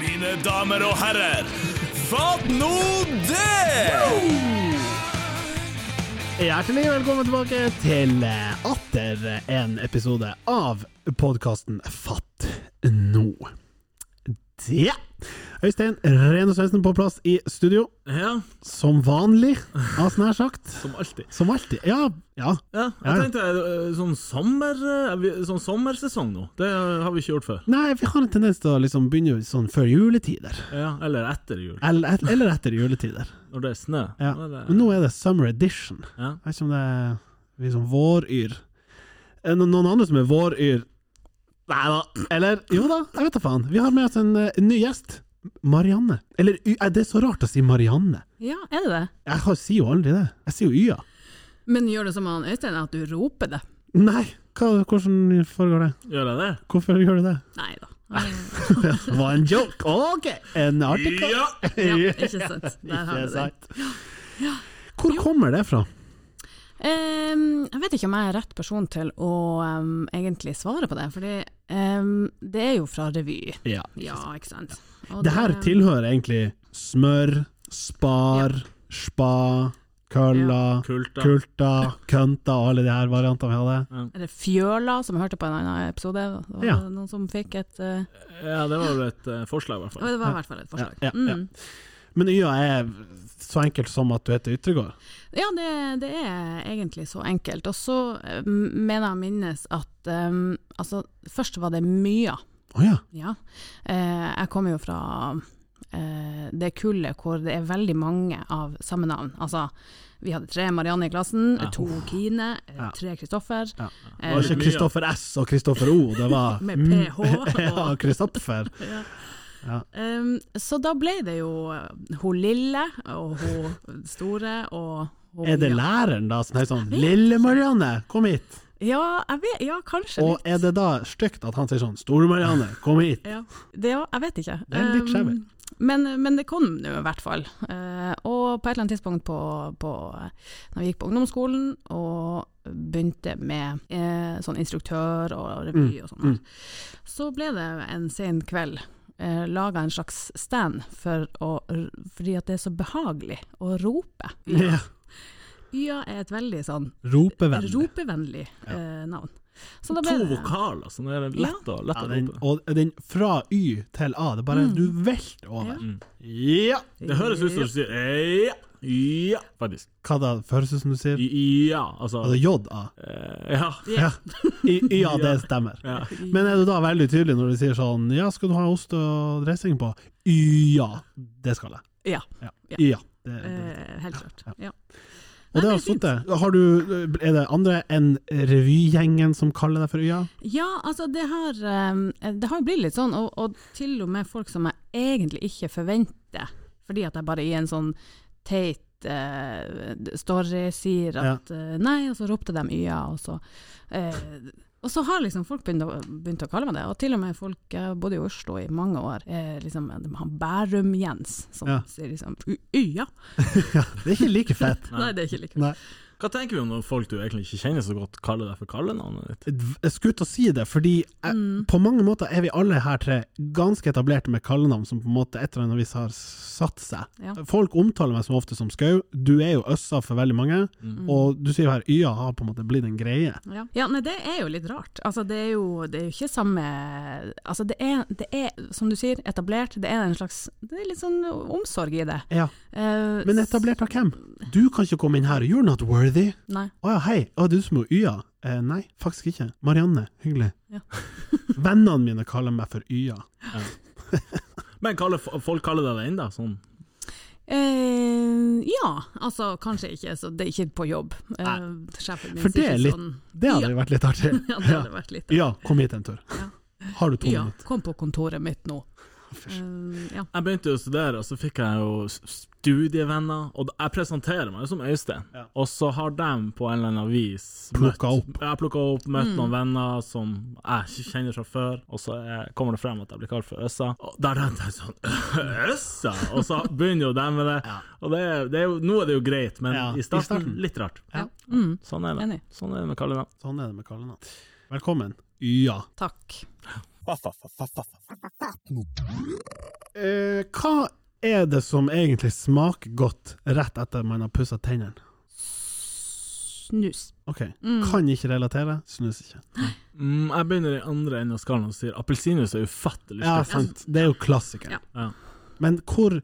mine damer og herrer. Fatt nå det! Hjertelig velkommen tilbake til eh, atter en episode av podkasten Fatt nå. Det. Øystein Reno Svendsen på plass i studio, Ja, som vanlig, altså nær sagt. som alltid. Som alltid. Ja, ja. Ja, jeg Ja. tenkte eh, sånn, sommer, eh, vi- sånn sommersesong nå, det har vi ikke gjort før. Nei, vi har en tendens til å liksom begynne sånn før juletider. Ja, Mm. eller etter jul, Eller, eller etter juletider. når det er snø. Ja. Nå er det- Men nå er det summer edition. Ja. Jeg vet ikke om det er liksom våryr. Er det Eh, noen andre som er våryr? Nei da. Eller jo da, jeg vet da faen. Vi har med oss en eh, ny gjest. Marianne. Eller Y- er det så rart å si Marianne? Ja, er det det? Jeg har, sier jo aldri det. Jeg sier jo Y-a. Men gjør det som han Øystein, at du roper det? Nei, hva, hvordan foregår det? Gjør jeg det? Hvorfor gjør du det? Nei da. Ja, Det var en joke. Ok, en artikkel. Ja! ikke sant. Der har du den. Hvor kommer det fra? Ehm, jeg vet ikke om jeg er rett person til å ehm, egentlig svare på det, fordi ehm, det er jo fra revy. Ja. Ja, ikke sant. Og Det her tilhører egentlig smør, spar, spa, kølla, Kult, da. kulta, kønta og alle de her variantene vi hadde. Er det fjøla, som jeg hørte på en annen episode? Det var Ja. noen som fikk et eh, Ja, det var jo et eh, forslag, i hvert å, fall. Det var i hvert fall et forslag. Ja, ja, ja. Mm. Men Y-a er så enkelt som at du heter Yttergård. Ja, det, det er egentlig så enkelt. Og så eh, mener jeg å minnes at ehm, altså, først var det mya. Å ja. Ja. Eh, jeg kommer jo fra eh, det kullet hvor det er veldig mange av samme navn. Altså, vi hadde tre Marianne i klassen, Ja. to Kine, eh, Ja. tre Kristoffer. Ja. Det Eh, var ikke mye. Kristoffer S og Kristoffer O, det var mm. Med PH. Ja, Kristoffer. Ja. Ja. Ehm, så da ble det jo eh, hun lille og hun store og hun Er det mye. læreren da som er sånn 'Lille Marianne, kom hit'? Ja, jeg vet, ja kanskje. Og er det da stygt at han sier sånn 'Store Marianne, kom hit'? Ja, det, ja, jeg vet ikke. Det er litt Um, skjevt. men, men det kom nå i hvert fall. Eh, og på et eller annet tidspunkt på, på når vi gikk på ungdomsskolen og begynte med eh, sånn instruktør og revy og sånn, her, så ble det en sen kveld eh, laga en slags stand for å, fordi at det er så behagelig å rope. Ja. Ya er et veldig sånn Ropevennlig. ropevennlig eh, navn. Så da ble To det vokaler, så det er lett å, lett Ja, å den, rope. og den fra Y til A, det er Mm. bare du velter over. Ja! Det høres ut som du sier eh, ja, ja, faktisk. Hva da, høres ut som du sier? Ja, altså Altså J-A. eh, Ja. Ja. I- Y-A, det stemmer. Ja. Men er du da veldig tydelig når du sier sånn Ja, skal du ha ost og dressing på? Y-A, det skal jeg. Ja, Ja. Ja. Y-A. Det, det. eh, helt klart. Ja. Og det Nei, har det er sittet. Har du, er det andre enn revygjengen som kaller deg for Y-A? Ja, altså det har eh, Det har jo blitt litt sånn, og, og til og med folk som jeg egentlig ikke forventer, fordi at jeg bare i en sånn teit eh, story sier at eh, nei, og så ropte de ya, og så eh, Og så har liksom folk begynt å, begynt å kalle meg det, og til og med folk Jeg bodde i Oslo i mange år, eh, liksom de har Bærum-Jens som Ja. sier liksom ya. Det er ikke like fett. Nei, det er ikke like Nei. Hva tenker vi om når folk du egentlig ikke kjenner så godt, kaller deg for kallenavnet ditt? Jeg skulle til å si det, fordi jeg, Mm. på mange måter er vi alle her tre ganske etablerte med kallenavn som på en måte et eller annet vis har satt seg. Ja. Folk omtaler meg som ofte som Skau, du er jo Øssa for veldig mange, og du sier jo her Y-a har på en måte blitt en greie. Ja. ja, nei det er jo litt rart. Altså det er jo, det er jo ikke samme Altså det er, det er, som du sier, etablert. Det er en slags Det er litt sånn omsorg i det. Ja. Eh, Men etablert av hvem? Du kan ikke komme inn her, you're not worthy. s- Nei. Å ja, hei, å, du som er Y-a? Eh, nei, faktisk ikke. Marianne, hyggelig. Ja. Vennene mine kaller meg for Y-a. Men kaller, fo- folk kaller deg det ennå, sånn. Eh, ja, altså kanskje ikke. Så det er ikke på jobb. Eh, sjefen min For det sier er ikke litt- sånn. Det hadde jo vært litt artig. Ja, det hadde vært litt Ja, kom hit en tur. Ja. Har du to Ja, minutter? kom på kontoret mitt nå. Eh, ja. Jeg begynte å studere, og så fikk jeg jo s- studievenner. Og jeg presenterer meg jo som Øystein, Ja. og så har de på en eller annen vis Plukket møtt- opp. Ja, plukka opp, møtt Mm. noen venner som jeg ikke kjenner fra før, og så eh, kommer det frem at jeg blir kalt for Øssa. Og da rente jeg sånn Øssa! Og så begynner jo de med det. Og det er, det er jo, nå er det jo greit, men Ja, i i, starten, starten. litt rart. ja. Mm, Sånn er det. Enig. Sånn er det med kallenavn. Sånn er det med kallenavn. Velkommen. Ja. takk. Eh, hva er det som egentlig smaker godt rett etter man har pussa tennene? Snus. Ok, Mm. Kan ikke relatere, snus ikke. Mm, jeg begynner i andre enden av skallen og sier appelsinjuice er ufattelig Ja, sterkt. sant. Det er jo klassikeren. Ja. Ja. Men hvor hva-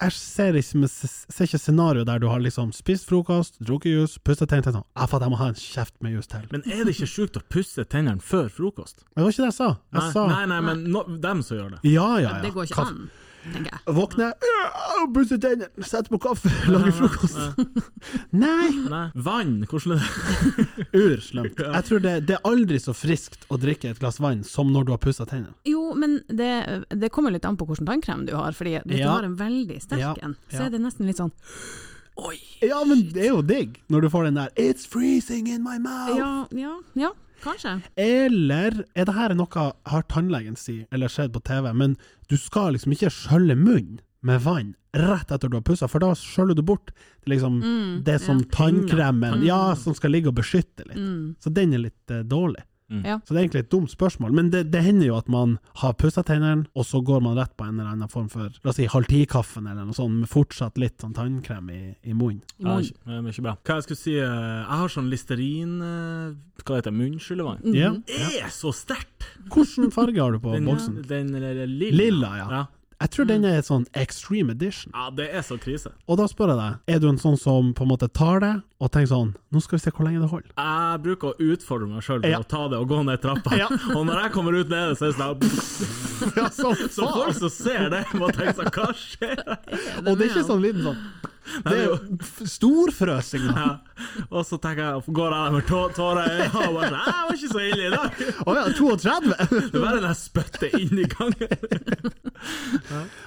Jeg ser ikke, men s- ser ikke scenario der du har liksom spist frokost, drukket juice, pussa tennene tenkt sånn Jeg fatter, jeg må ha en kjeft med juice til. Men Men er det ikke sjukt å pusse tennene før frokost? det var ikke det jeg sa. Jeg Nei, sa nei, nei, men no, dem som gjør det. Ja, ja, ja. Det går ikke Kaffe. an, tenker jeg. Våkne, øh, pusse tennene, sette på kaffe, lage frokost. Nei! Eh, Nei. Vann, hvordan er det? Urslemt. Jeg tror det, det er aldri så friskt å drikke et glass vann som når du har pussa tennene. Jo, men det, det kommer litt an på hvilken tannkrem du har. Fordi hvis du Ja. har en veldig sterk Ja. en, så Ja. er det nesten litt sånn Ja, men det er jo digg når du får den der 'It's freezing in my mouth'. Ja, ja, ja kanskje. Eller er det her noe har tannlegen si, eller skjedd på TV, men du skal liksom ikke skjølle munnen med vann rett etter du har pussa, for da skjøller du bort liksom det som tannkremen Ja, som skal ligge og beskytte litt. Så den er litt eh, dårlig. Ja. Så det er egentlig et dumt spørsmål, men det, det hender jo at man har pussa tennene, og så går man rett på en eller annen form for la oss si halv ti-kaffen eller noe sånt, med fortsatt litt sånn tannkrem i, i munnen. Ja, I det er morgen. ikke- det er ikke bra. Hva jeg skulle si, eh, jeg har sånn listerin, eh, hva det heter, munnskyllevann. Mm. Ja. Det er så sterkt! Hvilken farge har du på Den, eh, boksen? den, eller lilla. Lilla, ja. ja. Jeg tror den er sånn extreme edition. Ja, det er så krise. Og da spør jeg deg, er du en sånn som på en måte tar det, og tenker sånn, nå skal vi se hvor lenge det holder. Jeg bruker å utfordre meg sjøl til Ja. å ta det og gå ned trappa, Ja. og når jeg kommer ut nede, så er det sånn Ja, sånn. så Så folk som ser det, må tenke sånn Hva skjer? Og det er ikke sånn liten sånn, det er jo f- storfrøsing da. Ja. Og så tenker jeg, går jeg der med tå- tårer i øynene og bare sånn «Nei, Jeg var ikke så ille i dag! Åja, 32! Det er bare den jeg spytter inn i gangen.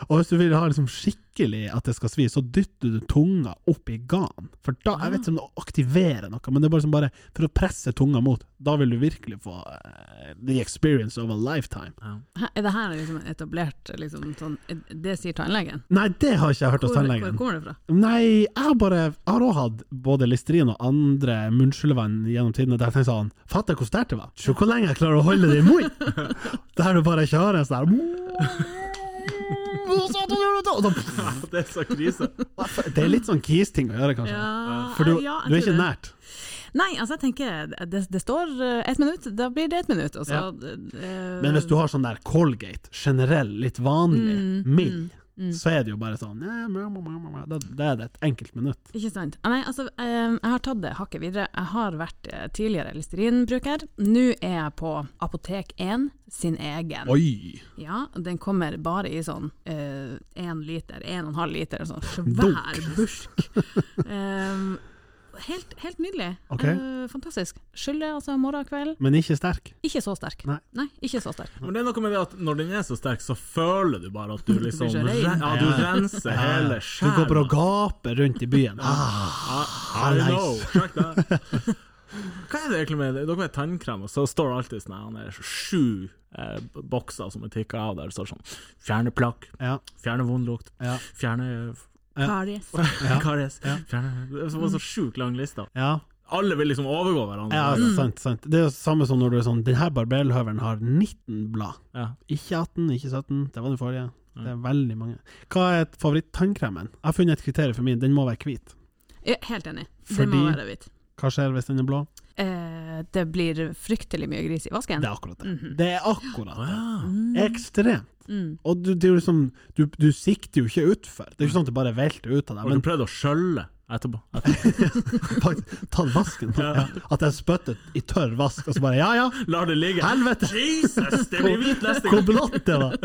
Og hvis du vil ha liksom skikkelig at det skal svi, så dytter du tunga opp i gan. For da, jeg vet ikke om det aktiverer noe, men det er bare, som bare for å presse tunga mot. Da vil du virkelig få eh, the experience of a lifetime. Hæ, Er det her liksom etablert liksom, sånn, Det sier tannlegen? Nei, det har ikke jeg hørt Hvor, hos hvor tannlegen. kommer det fra? Nei, jeg har bare Jeg har også hatt både Listerin og andre munnskyllevann gjennom tidene der jeg tenkte sånn Fatter hvor sterkt det var! Se hvor lenge jeg klarer å holde det i munnen! Der du bare kjører en sånn der Og så- og så- Det er så krise. Det er litt sånn kis-ting å gjøre, kanskje. Ja, For du, ja, jeg du er tror ikke det. nært. Nei, altså jeg tenker det, det står eh, ett minutt, da blir det ett minutt. Og så, eh, Men hvis du har sånn der Colgate, generell, litt Mm, vanlig, mild, så er det jo bare sånn ja, mjau, mjau, mjau, mjau. Da da er det et enkelt minutt. Ikke sant. Ah, Nei, altså, eh, jeg har tatt det hakket videre. Jeg har vært eh, tidligere Listerin-bruker. Nå er jeg på Apotek 1 sin egen. Oi! Ja, Den kommer bare i sånn én liter, én og en halv liter, sånn svær Dunk. burk. Eh, helt, helt nydelig. Ok. Eh, fantastisk. Skyller altså morgen og kveld. Men ikke sterk. Ikke så sterk. Nei. ikke så sterk. Men det er noe med det at når den er så sterk, så føler du bare at du liksom så re- rein. Ja, du renser hele Du sjela. går bare og gaper rundt i byen. Ah, I know. Sjekk det. Hva er det egentlig med det? Dere vet tannkrem, og så står det alltid sånn her, han er sju eh, bokser som er tikka av der. Det står sånn Fjerne plakk, ja, fjerne vond lukt, ja. fjerne Ja. Karies. ja. karies fjerne, Det var så sjukt lang liste. Ja, Alle vil liksom overgå hverandre. ja sant, sant. Det er jo samme som når du er sånn Den her barberhøvelen har 19 blad. Ja. Ikke 18, ikke 17. Det var den forrige. Det er veldig mange. Hva er favoritt-tannkremen? Jeg har funnet et kriterium for min. Den må være hvit. Ja, helt enig. Det må Fordi- være hvitt. Hva skjer hvis den er blå? Eh, det blir fryktelig mye gris i vasken. Det er akkurat det. Det er akkurat det. Ah. Ekstremt. Mm. Og du, det er jo liksom, du, du sikter jo ikke utfor. Det er jo ikke sånn at det bare velter ut av deg. Har Men du prøvd å skjølle etterpå? faktisk, ta vasken. Ja. At jeg spyttet i tørr vask, og så bare ja ja, La det ligge. helvete! Jesus, det blir hvit neste Hvor gang! blått det var!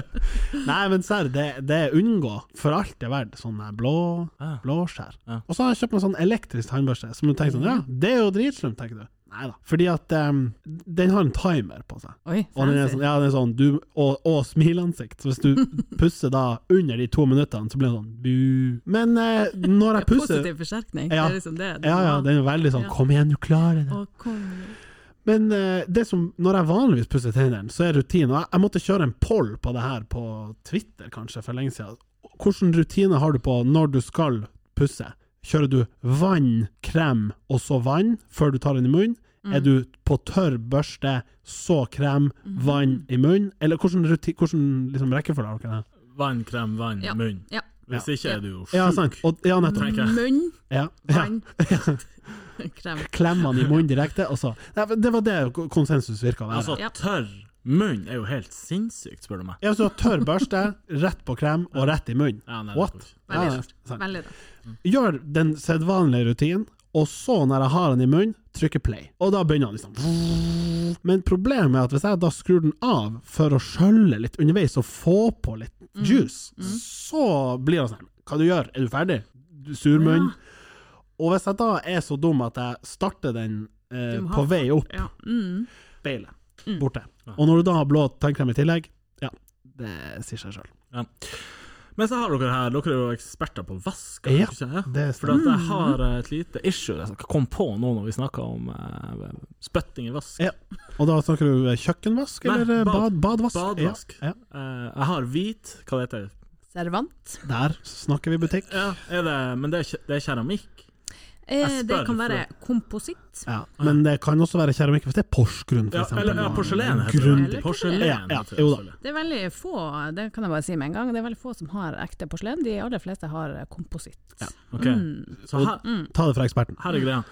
Nei, men serr, det, det er unngå for alt det er verdt. Sånn der blå, Ja. Ah. blåskjær. Ja. Og så har jeg kjøpt meg sånn elektrisk tannbørste, som du tenker sånn Ja, det er jo dritslumt, tenker du. Nei da. Fordi at em, den har en timer på seg. Oi, Og den er fancy. sånn, ja, den er sånn du, og, og smileansikt. Så hvis du pusser da under de to minuttene, så blir det sånn bu. Men eh, når jeg pusser Positiv forsterkning. Ja. Det er liksom det. det Ja, ja, må ha. den er veldig sånn Ja. 'kom igjen, du klarer det'. Å, konge. Men eh, det som, når jeg vanligvis pusser tennene, så er rutinen og jeg, jeg måtte kjøre en poll på det her på Twitter kanskje for lenge siden. Hvilken rutine har du på når du skal pusse? Kjører du vann, krem og så vann før du tar den i munnen? Er du på tørr børste, så krem, vann i munnen? Eller hvordan, ruti- hvordan liksom, rekkefølge har dere det? Vann, krem, vann, Ja. munn. Ja. Hvis ikke er du jo Ja, sjuk. sant. Og, ja, nettopp. Tenker jeg. Munn, Ja, ja. vann, krem. Klemmene i munnen direkte, og så Nei, men Det var det ko- konsensus virka å være. Altså, Ja. tørr munn er jo helt sinnssykt, spør du meg. Ja, så tørr børste, rett på krem og rett i munnen. Ja, nei, det What? går ikke. Ja, Sånn. det Veldig er rart. sant. Veldig rart. Gjør den sedvanlige rutinen, og så når jeg har den i munnen, trykker play. Og da begynner han liksom Men problemet er at hvis jeg da skrur den av for å skjølle litt underveis og få på litt Mm. juice, så blir han sånn Hva du gjør? Er du ferdig? Du Surmunn? Og hvis jeg da er så dum at jeg starter den eh, Du må på ha Mm. vei opp Ja. Mm. speilet, borte. Og når du da har blå tannkrem i tillegg, ja, det sier seg sjøl. Men så har dere her, dere er jo eksperter på vask. Ja, ikke sant? det stemmer. For at jeg har eh, et lite issue jeg kom på nå når vi snakka om eh, spytting i vask. Ja. Og da snakker du eh, kjøkkenvask Nei, eller eh, bad, bad- badvask? badvask. Ja, ja. Eh, jeg har hvit, hva det heter Servant. Der snakker vi butikk. ja, er det? Men det er, ke- det er keramikk. Eh, Jeg det spør kan være for- kompositt. Ja. Men det kan også være keramikk hvis det er Porsgrunn, for Ja, eksempel. eller ja, porselen heter Grundig. det. Eller Porselen, Ja, ja, heter det, jo da. selvfølgelig. Det er veldig få det kan jeg bare si med en gang, det er veldig få som har ekte porselen. De aller fleste har eh, kompositt. Ok. Mm. Så her, Ta det fra eksperten. Her er greia.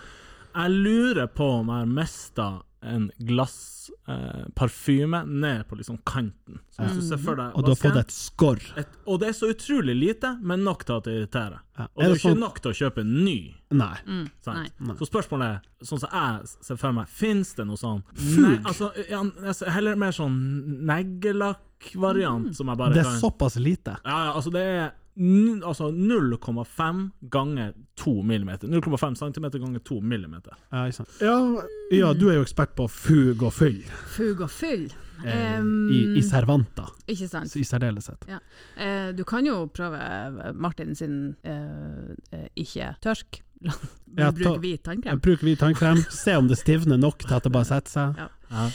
Jeg lurer på om jeg har mista en glassparfyme eh, parfyme ned på liksom kanten. Så hvis du ser for deg Mm. Og du har fått vasken, et skorr. et- Og det er så utrolig lite, men nok til at det irriterer. Ja. Er Og det er det jo ikke sånn- nok til å kjøpe en ny. Nei. Mm. Sant? Så spørsmålet er, sånn som jeg ser for meg, fins det noe sånn Nei, altså, ja, altså, Heller mer sånn neglelakkvariant som jeg bare Mm. Det er kan såpass lite. Ja, ja, altså det er n- altså 0,5 ganger 2 millimeter. 0,5 centimeter ganger 2 millimeter. Ja, ikke sant. Ja, ja, du er jo ekspert på fug og fyll Fug og fyll. eh, Em, i, i servanter, ikke sant. i særdeleshet. Ja. Eh, du kan jo prøve eh, Martin sin eh, eh, ikke tørk. Ja, ta- La- Bruk hvit tannkrem. Bruker vi tannkrem, se om det stivner nok til at det bare setter seg. Ja.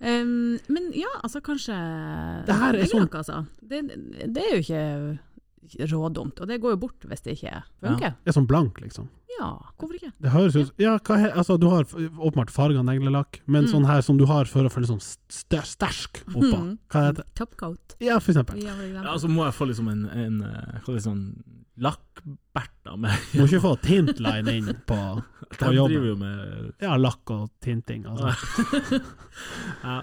Em, men ja, altså kanskje Det her er vil sånn- nok, altså. det, det er jo ikke rådumt, og det går jo bort hvis det ikke funker. Det er sånn blank, liksom. Ja, hvorfor ikke? Det høres ut Ja, hva he, altså, du har f- åpenbart farga neglelakk, men Mm. sånn her som du har for å føle sånn st stersk oppå. Mm. Hva heter det? Topcoat. Ja, for eksempel. Ja, for eksempel. Ja, altså må jeg få liksom en, en eh, hva er det, sånn lakkberter med Må ikke få tintline inn på, på De driver jobben. jo med eh, Ja, lakk og tinting. Altså. ja,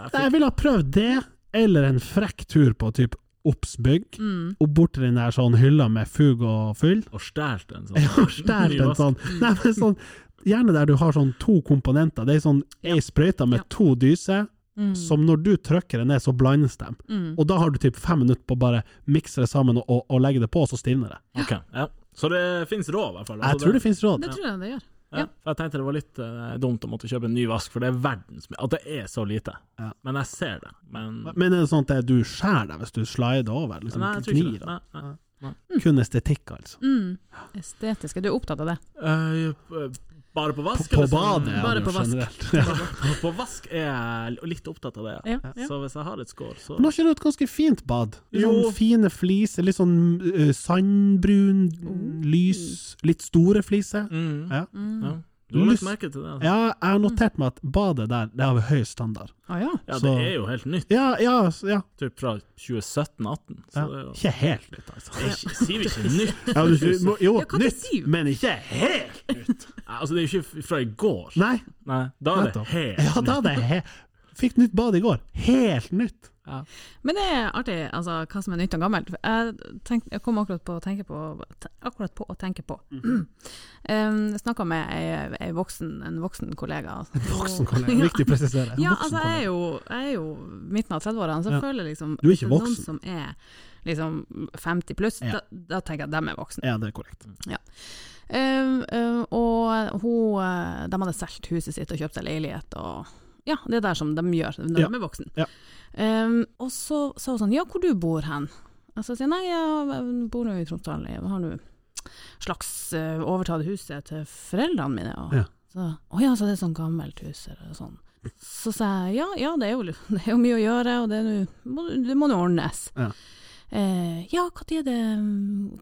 Nei, jeg ville ha prøvd det, eller en frekk tur på typ Obsbygg, Mm. og bort til den der sånn hylla med fug og fyll. Og stjålet en sånn. Jeg har stjålet en sånn Nei, men sånn Gjerne der du har sånn to komponenter. Det er sånn ei sprøyte med Ja. Mm. to dyser, som når du trykker det ned, så blandes de. Og da har du typ fem minutter på å bare mikse det sammen og, og, og legge det på, og så stivner det. Ok, ja. Så det finnes råd, i hvert fall. Altså, Jeg tror det finnes råd. det tror jeg det gjør. ja. for Jeg tenkte det var litt eh, dumt å måtte kjøpe en ny vask, for det er verdens At det er så lite. Ja. Men jeg ser det. Men Men er det sånn at det- du skjærer deg hvis du slider over? Liksom, Mm. Nei, jeg tror gnir ikke det. Nei, nei. det. Kun estetikk, altså. Mm. Estetisk, er du opptatt av det? Eh, bare på vask? På eller sånn- badet, ja. Bare det er jo på vask. generelt. Ja. På, på vask er jeg litt opptatt av det, ja. Ja, ja. Så hvis jeg har et skår, så Men har ikke du et ganske fint bad? Litt Jo. Sånn fine fliser, litt sånn eh, sandbrun, lys, litt store fliser. mm, Ja. ja. Du har Lyst- lagt merke til det? Altså. ja, jeg har notert meg at badet der, det er av høy standard. Å Ah, ja. Ja, det Så- er jo helt nytt. Ja, ja, s- ja. Typ fra 2017-18. ja. Så det er jo Ikke helt nytt, altså. Ikke- Sier vi ikke nytt? Ja, du, må- jo, Ja, hva du nytt, sier? men ikke helt! Altså, det er jo ikke fra i går. Nei, Nei, da er det nettopp. helt Ja, da det er he Fikk nytt bad i går. Helt nytt. Men det er artig, altså, hva som er nytt og gammelt. Jeg, tenk, jeg kom akkurat på å tenke på, te- akkurat på, å tenke på. Mhm. Um, jeg snakka med ei, ei voksen, en voksen kollega. Voksen kollega, viktig å presisere. Ja, Voksen altså jeg kollega. er jo, jeg er jo midten av 30-årene, så Ja. jeg føler liksom Du er ikke noen voksen. som er liksom 50 pluss, Ja. da, da tenker jeg at de er voksne. Ja, det er korrekt. Mm. Eh, eh, og hun, eh, de hadde solgt huset sitt og kjøpt seg leilighet og ja, det er der som de gjør når Ja. de er voksne. Ja. Eh, og så sa hun sånn, ja, hvor du bor hen? Og så sier jeg, nei, jeg bor nå i Tromsdalen, jeg har nå slags eh, overtatt huset til foreldrene mine. Og, Ja. så, å ja, så det er sånn gammelt hus eller sånn. Så sa jeg, ja, ja det, er jo, det er jo mye å gjøre, og det, er nå- må, det må nå ordnes. Ja. Eh, ja, når var det,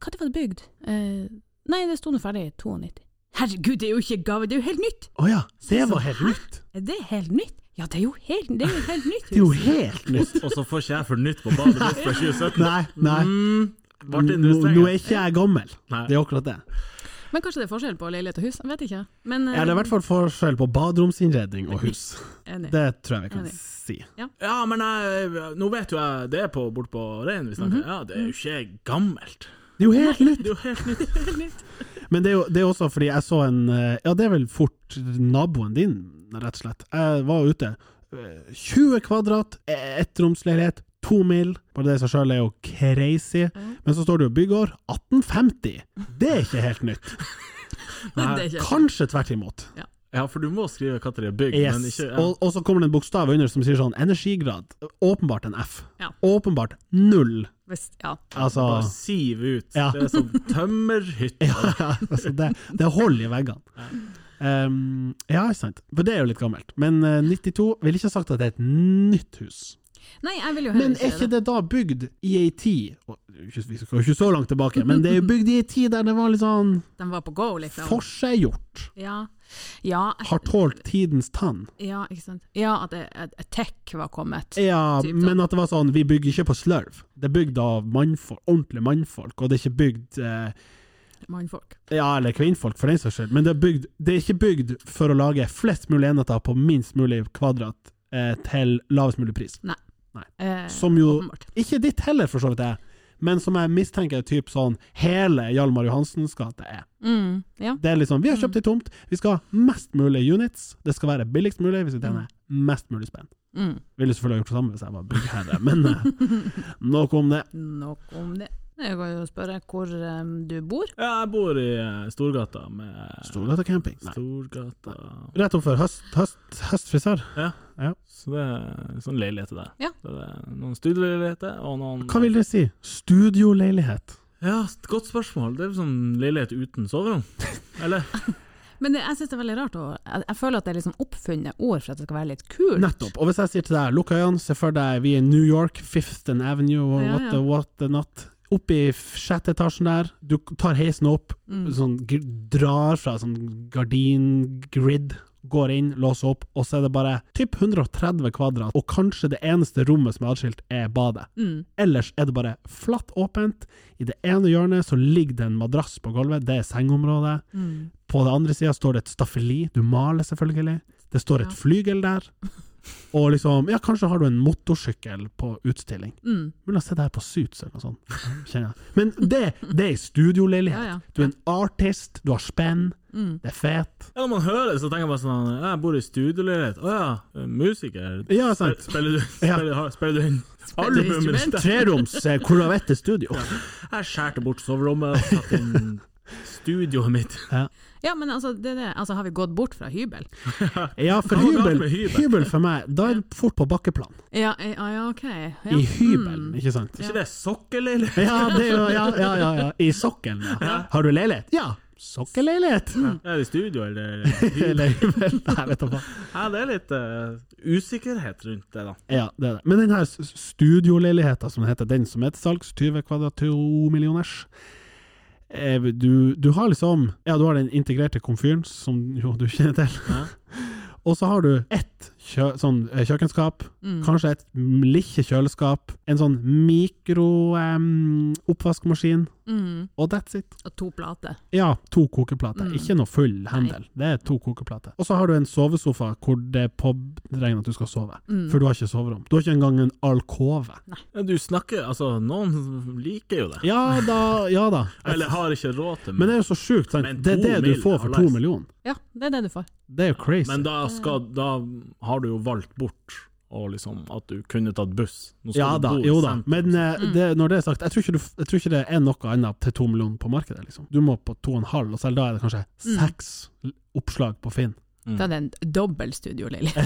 hva tid var det bygd? Eh, Nei, det sto nå ferdig i 92. Herregud, det er jo ikke gave, det er jo helt nytt! Å ja, det var helt nytt! Er det helt nytt? Ja, det er jo helt, det er jo helt nytt. Det er jo helt nytt! Og så får ikke jeg for nytt på badet mitt fra 2017. Nei, nei. Mm, Nå, ble det nå er industrien? ikke jeg gammel. Nei. Det er akkurat det. Men kanskje det er forskjell på leilighet og hus, jeg vet ikke. Men, eh, Ja, det er i hvert fall forskjell på baderomsinnredning og hus. enig. Det tror jeg vi kan Enig. si. Ja, men jeg, nå vet jo jeg det er på, bort på Rein vi snakker. Mhm. Ja, det er jo ikke gammelt. Det er jo helt nytt! Det er jo helt nytt. Men det er jo det er også fordi jeg så en eh, Ja, det er vel fort naboen din, rett og slett. Jeg var ute. eh, 20 kvadrat, eh, ettromsleilighet, to mil. Bare det i seg sjøl er jo crazy. Men så står det jo byggår 1850. Det er ikke helt nytt. Men det er ikke Kanskje tvert imot. Ja, for du må skrive hva det er bygg, Yes. men ikke ja. Og, og så kommer det en bokstav under som sier sånn energigrad. Åpenbart en F. Ja. Åpenbart null. Hvis, ja. Altså Bare siv ut. Ja. Det er som tømmerhytte. Ja, altså det, det er hold i veggene. Um, ja, ikke sant. For det er jo litt gammelt. Men eh, 92 ville ikke ha sagt at det er et nytt hus. Nei, jeg vil jo heller Men er ikke det da bygd i ei tid og- ikke- Vi skal jo ikke så langt tilbake, men det er jo bygd i ei tid der det var litt sånn De var på go, liksom. forseggjort. Ja. Ja, jeg- Har tålt tidens tann. ja, ikke sant. Ja, at, det- at at tech var kommet. Ja, Typ sånn. men at det var sånn Vi bygger ikke på slurv. Det er bygd av mannfolk, ordentlige mannfolk, og det er ikke bygd eh, Mannfolk. Ja, eller kvinnfolk, for den saks skyld. Men det er, bygd, det er ikke bygd for å lage flest mulig enheter på minst mulig kvadrat eh, til lavest mulig pris. Eh, Som jo åpenbart. ikke ditt heller, for så vidt, er. Men som jeg mistenker er typ sånn hele Hjalmar Johansens gate er. Mm, ja. Det er liksom, Vi har kjøpt ei tomt, vi skal ha mest mulig units, det skal være billigst mulig, vi skal tjene mest mulig spenn. Mm. Ville selvfølgelig ha gjort det samme hvis jeg var byggherre, men eh, nok om det. Nok om det. Jeg kan jo spørre hvor eh, du bor. Ja, jeg bor i eh, Storgata med Storgata camping. Nei. Storgata Rett opp for høst, høst, høstfrisør. Så det er sånn leiligheter der. Ja. Så det er noen studieleiligheter og noen Hva vil det si? Studioleilighet. Ja, s- godt spørsmål. Det er jo sånn leilighet uten soverom. Eller? Men det, jeg syns det er veldig rart. å- jeg, jeg føler at det er liksom oppfunnet ord for at det skal være litt kult. Nettopp. Og hvis jeg sier til deg, lukk øynene, se for deg vi er i New York, Fifth and Avenue, what, Ja, ja. The, what the not. Oppe i f- sjette etasjen der, du k- tar heisen opp, Mm. sånn, gr- drar fra sånn gardin-grid, går inn, låser opp, og så er det bare typ 130 kvadrat, og kanskje det eneste rommet som er adskilt, er badet. Mm. Ellers er det bare flatt åpent. I det ene hjørnet så ligger det en madrass på gulvet, det er sengeområdet. Mm. På den andre sida står det et staffeli, du maler selvfølgelig. Det står et Ja. flygel der. Og liksom, ja, kanskje har du en motorsykkel på utstilling. Mm. Mulig å se det her på Suits eller noe sånt. kjenner jeg. Men det, det er ei studioleilighet. Ja, ja. Du er en artist, du har spenn, Mm. det er fet. Ja, når man hører det, så tenker man sånn «Ja, Jeg bor i studieleilighet. Å ja, eh, musiker. Ja, sant. Spiller du, Ja. spiller, har- spiller du inn Spiller du albumet instrument? mitt? Treroms eh, Coravette studio. Jeg skjærte bort soverommet og satte inn studioet mitt. Ja, men altså, det, er det, altså, har vi gått bort fra hybel? Ja, for Hva var galt hybel, med hybel? hybel for meg, da er det fort på bakkeplan. Ja, eh, ja, ja ok. Ja. Mm. I hybelen, ikke sant? Er ikke det sokkelleilighet? Ja, det er jo, ja, ja, ja, ja. I sokkelen, ja. Har du leilighet? Ja, sokkelleilighet. Er det studio, eller? Eller hybel, nei, vet du hva. Ja, det er litt eh, usikkerhet rundt det, da. Ja, det er det. Men den her s- studioleiligheten som den heter, den som er til salgs, 20 kvadrat, 2 millioners eh, du, du har liksom Ja, du har den integrerte komfyren, som jo du kjenner til. Ja. Og så har du ett kjø, sånn, eh, kjøkkenskap, kanskje et m- lite kjøleskap, en sånn mikro-oppvaskmaskin, Mm. og that's it. Og to plater. Ja, to kokeplater. Ikke noe full handel. Det er to kokeplater. Og så har du en sovesofa hvor det er påregnet at du skal sove. Mm. For du har ikke soverom. Du har ikke engang en alkove. Ja, Du snakker Altså, noen liker jo det. Ja da, ja da. Eller har ikke råd til Men det. det er jo så sjukt, sant. Men Det er to det du mil, får for to hallais. millioner. Ja, det er det du får. Det er jo crazy. Men da, skal, Mm. da har du jo valgt bort og liksom, at du kunne tatt buss. Nå skal ja du da, bo i jo da. sentrum. Men eh, det, når det er sagt, jeg tror, ikke du, f- jeg tror ikke det er noe annet til to millioner på markedet, liksom. Du må på to og en halv, og selv da er det kanskje seks l- oppslag på Finn. Da er det en dobbel studioleilighet. Mm.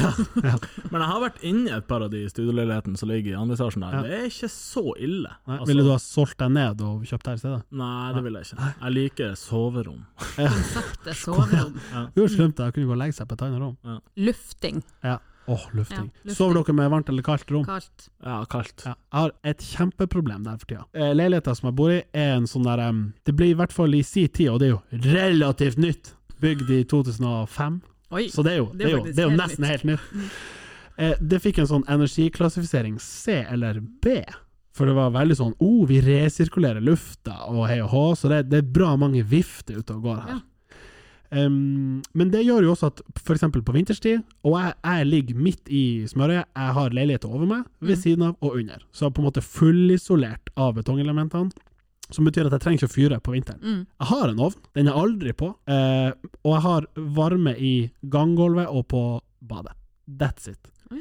Ja, ja. Men jeg har vært inne et par av de studioleilighetene som ligger i andre etasjen der. Ja. Det er ikke så ille. Nei, Altså, Ville du ha solgt deg ned og kjøpt der i stedet? Nei, det vil jeg ikke. Jeg liker soverom. Konseptet soverom. Jo, slemt det, jeg kunne gå og legge seg på et annet rom. Lufting. Ja. Åh, lufting. Ja, lufting. Sover dere med varmt eller kaldt rom? Kaldt. Ja, kaldt. Ja, jeg har et kjempeproblem der for tida. Eh, Leiligheta som jeg bor i, er en sånn der em, Det blir i hvert fall i si tid, og det er jo relativt nytt. bygd i 2005, Oi. så det er jo, Det er det er jo, faktisk det er jo helt nesten helt nytt. Eh, Det fikk en sånn energiklassifisering C eller B, for det var veldig sånn oh, vi resirkulerer lufta og hei og hå, så det, det er bra mange vifter ute og går her. Ja. Em, men det gjør jo også at f.eks. på vinterstid, og jeg, jeg ligger midt i smørøyet, jeg har leiligheter over meg, ved Mm. siden av og under, så jeg er på en måte fullisolert av betongelementene, som betyr at jeg trenger ikke å fyre på vinteren. Mm. Jeg har en ovn, den er aldri på, eh, og jeg har varme i ganggulvet og på badet. That's it. Oi.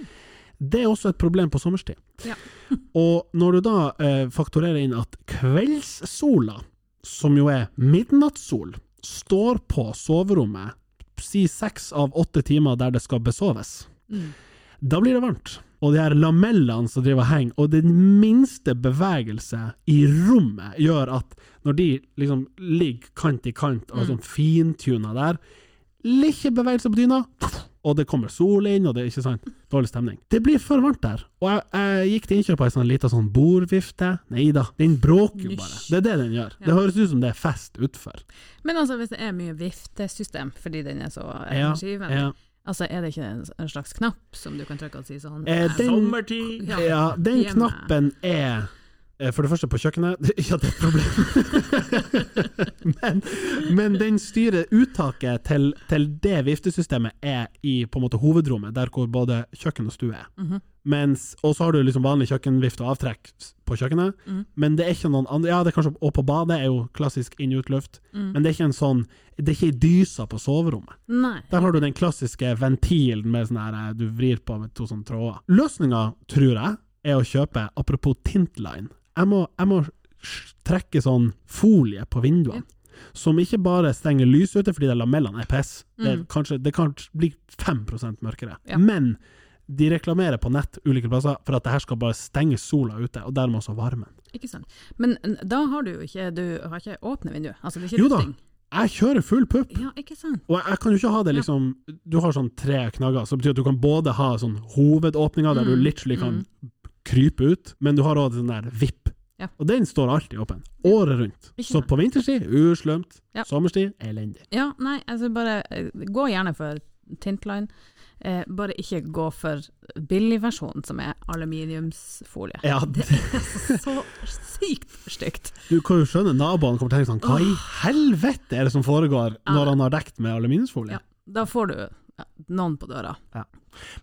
Det er også et problem på sommerstid. Ja. og når du da eh, fakturerer inn at kveldssola, som jo er midnattssol, står på soverommet si seks av åtte timer der det skal besoves, Mm. da blir det varmt. Og de her lamellene som driver og henger, og den minste bevegelse i rommet gjør at når de liksom ligger kant i kant og sånn fintuna der, lille bevegelse på dyna, og det kommer sol inn, og det er ikke sant, dårlig stemning. Det blir for varmt der, og jeg, jeg gikk til innkjøp av ei sånn lita sånn bordvifte, nei da, den bråker jo bare, det er det den gjør. Det høres ut som det er fest utfor. Men altså, hvis det er mye viftesystem fordi den er så Ja, energivennlig, ja. altså, er det ikke en, en slags knapp som du kan trykke og si sånn Eh, «Nei, den- Sommertid! Ja. Ja, den Hjemme. knappen er eh, for det første på kjøkkenet, ja det er et problem, men, men den styrer uttaket til, til det viftesystemet er i på en måte hovedrommet, der hvor både kjøkken og stue er. Mhm. Mens, og så har du liksom vanlig kjøkkenvift og avtrekk s- på kjøkkenet, Mhm. men det er ikke noen andre, ja det er kanskje, og på badet er jo klassisk inn-utluft, Mhm. men det er ikke en sånn, det er ikke dysa på soverommet. Nei. Der har du den klassiske ventilen med sånn her eh, du vrir på med to sånne tråder. Løsninga, tror jeg, er å kjøpe Apropos Tintline. Jeg må, jeg må sj- trekke sånn folie på vinduene. Som ikke bare stenger lyset ute fordi de lamellene er piss. Det, er kanskje, det kan bli 5 mørkere. Ja. Men de reklamerer på nett ulike plasser for at det her skal bare stenge sola ute, og dermed også varmen. Ikke sant. Men n- da har du jo ikke Du har ikke åpne vinduet. Altså, det er ikke Jo da, lufting. jeg kjører full pupp. Ja, ikke sant. Og jeg, jeg kan jo ikke ha det liksom Du har sånn tre knagger, så det betyr at du kan både ha sånn hovedåpninga der Mm, du literally kan krype ut, men du har òg den der vipp. Ja. Og den står alltid åpen, året rundt. Ikke Så sant. på vinterstid uslømt, Ja. sommerstid elendig. Ja, nei, altså bare eh, Gå gjerne for Tintline. Eh, bare ikke gå for billigversjonen, som er aluminiumsfolie. Ja, Det er så sykt stygt. du kan jo skjønne naboene kommer til å tenke sånn Hva i helvete er det som foregår Ja. når han har dekt med aluminiumsfolie? Ja, da får du ja, noen på døra.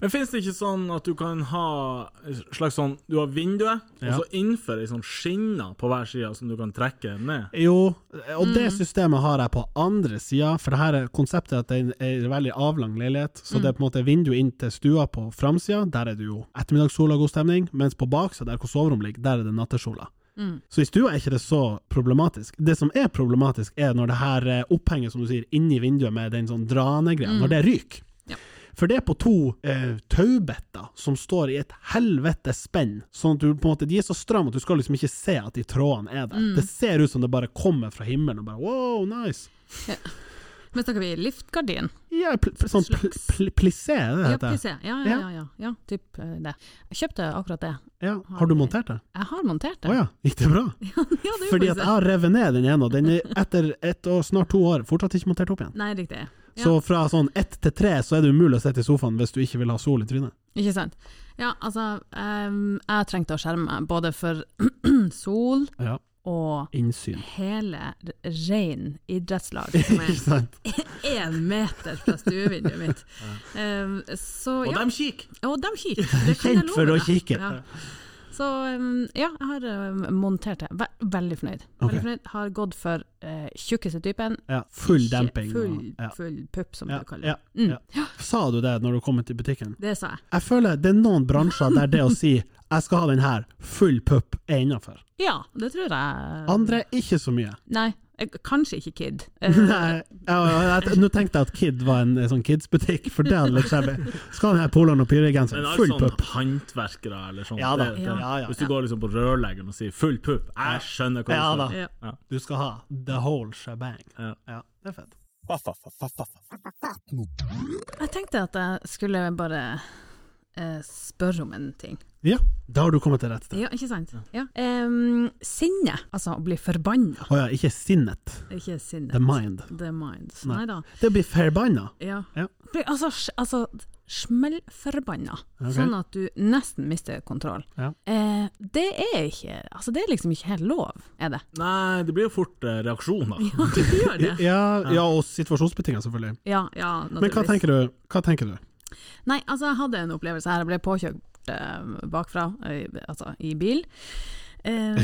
Men finnes det ikke sånn at du kan ha en slags sånn Du har vinduet, Ja. og så innenfor ei sånn skinne på hver side som du kan trekke ned? Jo, og det systemet har jeg på andre sida, for det her er konseptet at det er en veldig avlang leilighet, så det er på en måte vindu inn til stua på framsida, der er det jo ettermiddagssola og god stemning, mens på baksida, der hvor soverommet ligger, der er det nattesola. Så i stua er ikke det så problematisk. Det som er problematisk, er når det her eh, opphenget, som du sier, inni vinduet med den sånn dranegreia, når det ryker. Ja. For det er på to eh, taubetter som står i et helvetes spenn, sånn at du på en måte, de er så stramme at du skal liksom ikke se at de trådene er Mm. der. Det ser ut som det bare kommer fra himmelen og bare wow, nice. Men snakker vi liftgardin? Ja, pl pl sånn pl Slags. pl plissé, er det det Ja, heter. PC. Ja, ja, ja. ja, ja. Typ eh, det. Jeg kjøpte akkurat det. Ja, har du montert det? Jeg har montert Å det. ja, gikk det bra? Ja, det er jo Fordi faktisk at det. jeg har revet ned den ene, og den er etter ett og snart to år fortsatt ikke montert opp igjen. Nei, riktig. Ja. Så fra sånn ett til tre så er det umulig å sitte i sofaen hvis du ikke vil ha sol i trynet. Ikke sant. Ja, altså, ehm, jeg trengte å skjerme meg både for sol Ja, og innsyn. hele r- rein idrettslag som Ikke er sant? én meter fra stuevinduet mitt. Ehm, så Og ja, dem kikker! og de kikker. Det kan jeg Kjent for å love deg. kikke. Ja. Så ehm, ja, jeg har ehm, montert det. Ve veldig fornøyd. Ok. Veldig fornøyd. Har gått for eh, tjukkeste typen. Ja, full Ikke demping. og- Full, ja. full pupp, som Ja, du kaller det. Mm, ja, ja. Sa du det når du kom ut i butikken? Det sa jeg. Jeg føler det er noen bransjer der det å si 'jeg skal ha den her, full pupp', er innafor. Ja, det tror jeg. Andre ikke så mye. Nei, eh, kanskje ikke Kid. Eh, Nei, ja, ja, jeg- Nå tenkte jeg at Kid var en eh, sånn kidsbutikk, for det hadde litt skjevt. Skal ha den her poloen og Men pyregenseren, alt full sånn pupp. håndverkere eller sånt Ja da, det- det- ja, ja, Hvis du går liksom på rørleggeren og sier 'full pupp', jeg skjønner hva Ja du da. sier. Ja. Du skal ha the whole shebang. Ja. Ja, det er fett. Jeg tenkte at jeg skulle bare eh, spørre om en ting. Ja, Da har du kommet til rett sted. Ja, ikke sant? Ja. Em, sinne, altså å bli forbanna, Å ja, ikke sinnet. ikke sinne. The mind. The mind. Nei. Nei da. Det å bli forbanna. Ja. Ja. Bli- Altså, sj- altså smellforbanna, Ok. sånn at du nesten mister kontroll. Ja. Eh, det er ikke Altså, det er liksom ikke helt lov, er det? Nei, det blir jo fort eh, reaksjoner. Ja, du gjør det. Ja, ja, og situasjonsbetinga, selvfølgelig. Ja, ja, Men hva naturligvis. tenker du? Hva tenker du? Nei, altså jeg hadde en opplevelse her. Jeg ble påkjørt eh, bakfra, eh, altså i bil. Eh,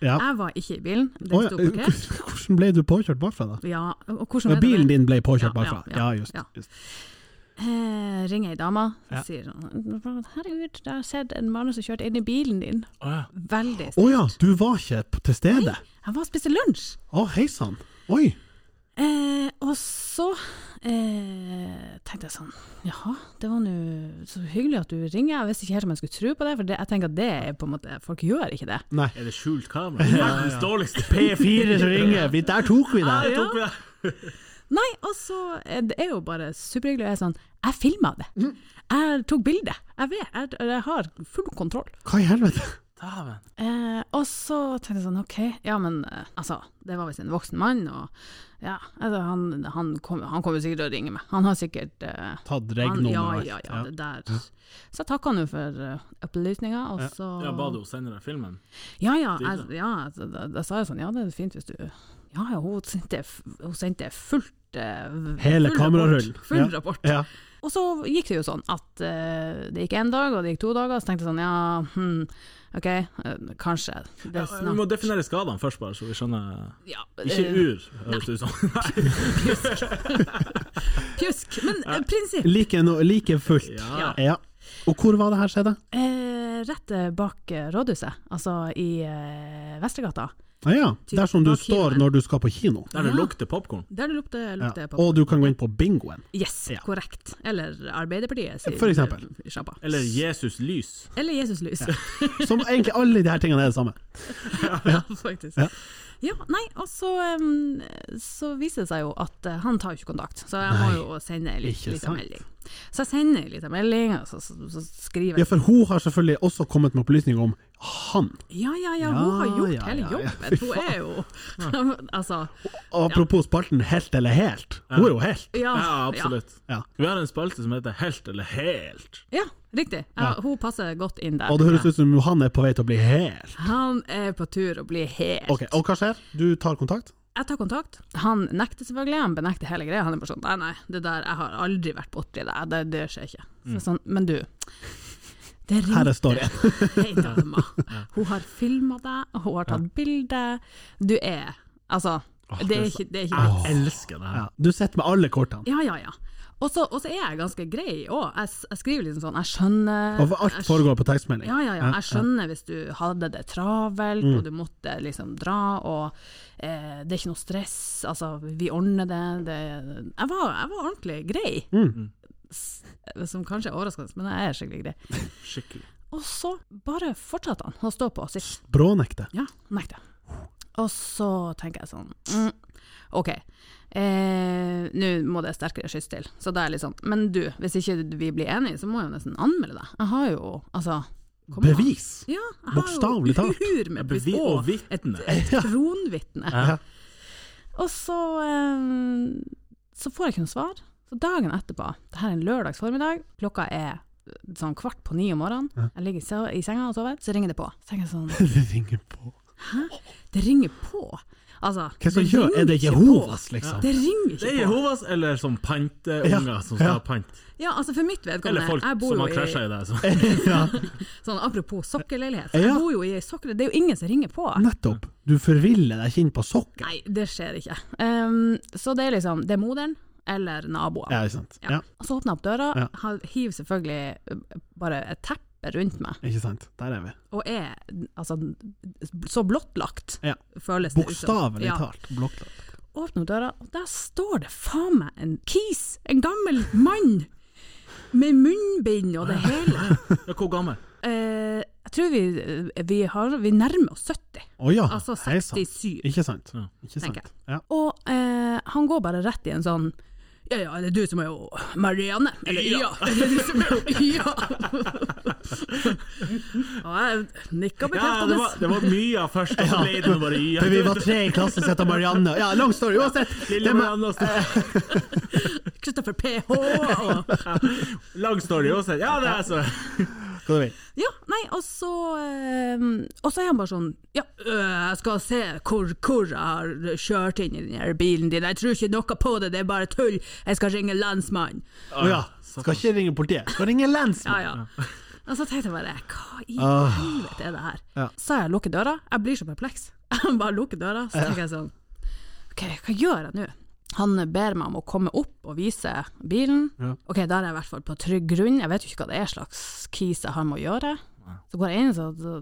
Ja. jeg var ikke i bilen, den Å ja, sto parkert. Hvordan ble du påkjørt bakfra, da? Ja, og hvordan Ja, er det bilen det? din ble påkjørt Ja, bakfra. ja, Ja, ja, just. ja. just. Eh, ringer ei dame og Ja. sier sånn Herregud, jeg har sett en mann som kjørte inn i bilen din. Å, ja. Veldig Å sterkt. ja, du var ikke p- til stede? Jeg var og spiste lunsj. Å, hei sann. Oi. Eh, og så eh, tenkte jeg sånn Jaha, det var nå så hyggelig at du ringer. Jeg visste ikke helt om jeg skulle tro på det, for det, jeg tenker at det er på en måte Folk gjør ikke det. Nei. Er det skjult kamera? Verdens dårligste P4! P4 som ringer, vi, der tok vi Der deg! tok vi det. Nei, altså, det er jo bare superhyggelig. og Jeg er sånn, jeg filma det. Jeg tok bilde. Jeg vet, jeg, jeg har full kontroll. Hva i helvete? Dæven. Eh, og så tenkte jeg sånn, ok, ja men eh, altså, det var visst en voksen mann, og ja, altså, han, han, kom, han kommer sikkert til å ringe meg. Han har sikkert eh, Tatt han, regnummer ja, og alt. ja, ja, det der. Så takka han jo for eh, opplysninga, og så Ja, ba du henne sende deg filmen? Ja, ja, Stilig. jeg, ja altså, da, da sa jeg sånn, ja det er fint hvis du Ja, ja, hun sendte, f- hun sendte fullt eh, Hele full kamerarullen. rapport. Full Ja. rapport. Ja. Og så gikk det jo sånn at eh, det gikk én dag, og det gikk to dager, og så tenkte jeg sånn ja, hm, ok, eh, kanskje det Ja, er vi må snart definere skadene først, bare, så vi skjønner. ja, Ikke eh, ur, høres det ut som. Nei. Pjusk, men eh, prinsipp. Like, no, like fullt. Ja. Ja. Og hvor var det her skjedde? Eh, rett eh, bak eh, rådhuset, altså i eh, Vestregata. Ah, ja, der som du bak står kinoen. når du skal på kino. Der det lukter popkorn. Der det lukter Ja. lukter på. Og du kan gå inn på bingoen. Yes, Ja. korrekt. Eller Arbeiderpartiet sin For eksempel. eh, sjappa. Eller Jesus lys. Eller Jesus lys, Som egentlig alle de her tingene er det samme. faktisk. Ja. Ja. nei, og så, em, så viser det seg jo at eh, han tar jo ikke kontakt, så jeg Nei, må jo sende en ikke liten sant. melding. Så jeg sender en liten melding, og så, så, så skriver Ja, jeg for hun har selvfølgelig også kommet med opplysninger om han. Ja, ja, Ja, ja, hun har gjort ja, hele ja, ja. jobben. Hun er jo Altså. Apropos spalten helt eller helt. Hun er jo helt. Ja, Ah, Ja, absolutt. Ja. Vi har en spalte som heter Helt eller helt. Ja, riktig. Ja, hun passer godt inn der. Og det høres ut som han er på vei til å bli helt. Han er på tur å bli helt Ok, Og hva skjer? Du tar kontakt? Jeg tar kontakt. Han nekter selvfølgelig, han benekter hele greia. Han er bare sånn nei, nei, det der, jeg har aldri vært borti det, det, det skjer ikke. Så sånn, men du, det Mm. Her ringte er storyen. ei dame. Hun har filma deg, hun har tatt bilde. Du er Altså, det er ikke, det er ikke Jeg elsker det her. Ja. Du sitter med alle kortene. Ja, ja, ja. Og så og så er jeg ganske grei òg. Jeg, s- jeg skriver liksom sånn, jeg skjønner Og alt jeg foregår på tekstmelding. Ja, ja, ja. Jeg skjønner hvis du hadde det travelt, og du måtte liksom dra, og eh, det er ikke noe stress, altså, vi ordner det. det jeg, var, jeg var ordentlig grei. S- Som kanskje er overraskende, men jeg er skikkelig grei. Skikkelig. Og så bare fortsatte han å stå på og si Brånekte. ja, nekter. Og så tenker jeg sånn mm, Ok, eh, nå må det sterkere skyss til. Så da er jeg litt sånn Men du, hvis ikke vi blir enige, så må jeg jo nesten anmelde deg. Jeg har jo altså kom an. Bevis! Ja, jeg Bokstavelig har talt. jo uhur med Bevis og bevis. vitne. Og kronvitne. Ja. Og så eh, Så får jeg ikke noe svar. Så dagen etterpå, det her er en lørdags formiddag, klokka er sånn kvart på ni om morgenen, jeg ligger i se- i senga og sover, så ringer det på. Så tenker jeg sånn Det ringer på. Det ringer på. Altså, Hva som gjør? ringer Er det ikke Jehovas, på. liksom? Det ringer Det ikke er på. Jehovas eller som panteunger Ja. som skal Ja. ha pant. Ja, altså for mitt Eller vedkommende folk jeg bor som har jo krasja i, i deg. så- Ja, Sånn apropos sokkelleilighet. Ja. Jeg bor jo i sokkel, det er jo ingen som ringer på. nettopp. Du forviller deg ikke inn på sokken. Nei, det skjer ikke. Um, så det er liksom Det er moderen eller naboer. Ja, ikke sant. Ja. Ja, Og så åpner jeg opp døra, Ja. han hiver selvfølgelig uh, bare et teppe rundt meg, ikke sant. Der er vi. og er altså så blottlagt, Ja. føles det ut som. Bokstavelig Ja. talt. Blokklagt. åpner døra, og der står det faen meg en kis, en gammel mann, med munnbind og det hele. Ja, Hvor gammel? Eh, jeg tror vi, eh, vi, har, vi nærmer oss 70, Å ja, altså hei sann. 67, Ikke sant. Ja. Ikke tenker sant. jeg. Ja. Og eh, han går bare rett i en sånn Ja, ja, det er du som er jo Marianne. Eller ja. Det er du som er jo ja. Og jeg nikka Ja, det bekreftende. var, det var mye av første, og så ble det bare ja. For vi var tre i klassen som het Marianne. Ja, long story. Uansett. Lille det med- Marianne stod- Kristoffer PH og Lang story også. Ja, det er så Hva du vil. Ja, nei, og så eh, Og så er han bare sånn Ja, øh, jeg skal se hvor, hvor jeg har kjørt inn i den her bilen din. Jeg tror ikke noe på det, det er bare tull. Jeg skal ringe lensmannen. Å ja. Skal ikke ringe politiet. Skal ringe Ja, lensmannen. ja. Og så tenkte jeg bare Hva i Ah. helvete er det her? Ja. Så jeg lukker døra. Jeg blir så perpleks. Jeg bare lukker døra, så tenker jeg sånn OK, hva gjør jeg nå? Han ber meg om å komme opp og vise bilen. Ja. Ok, da er jeg i hvert fall på trygg grunn. Jeg vet jo ikke hva det er slags kis jeg har med å gjøre. Så går jeg inn, så så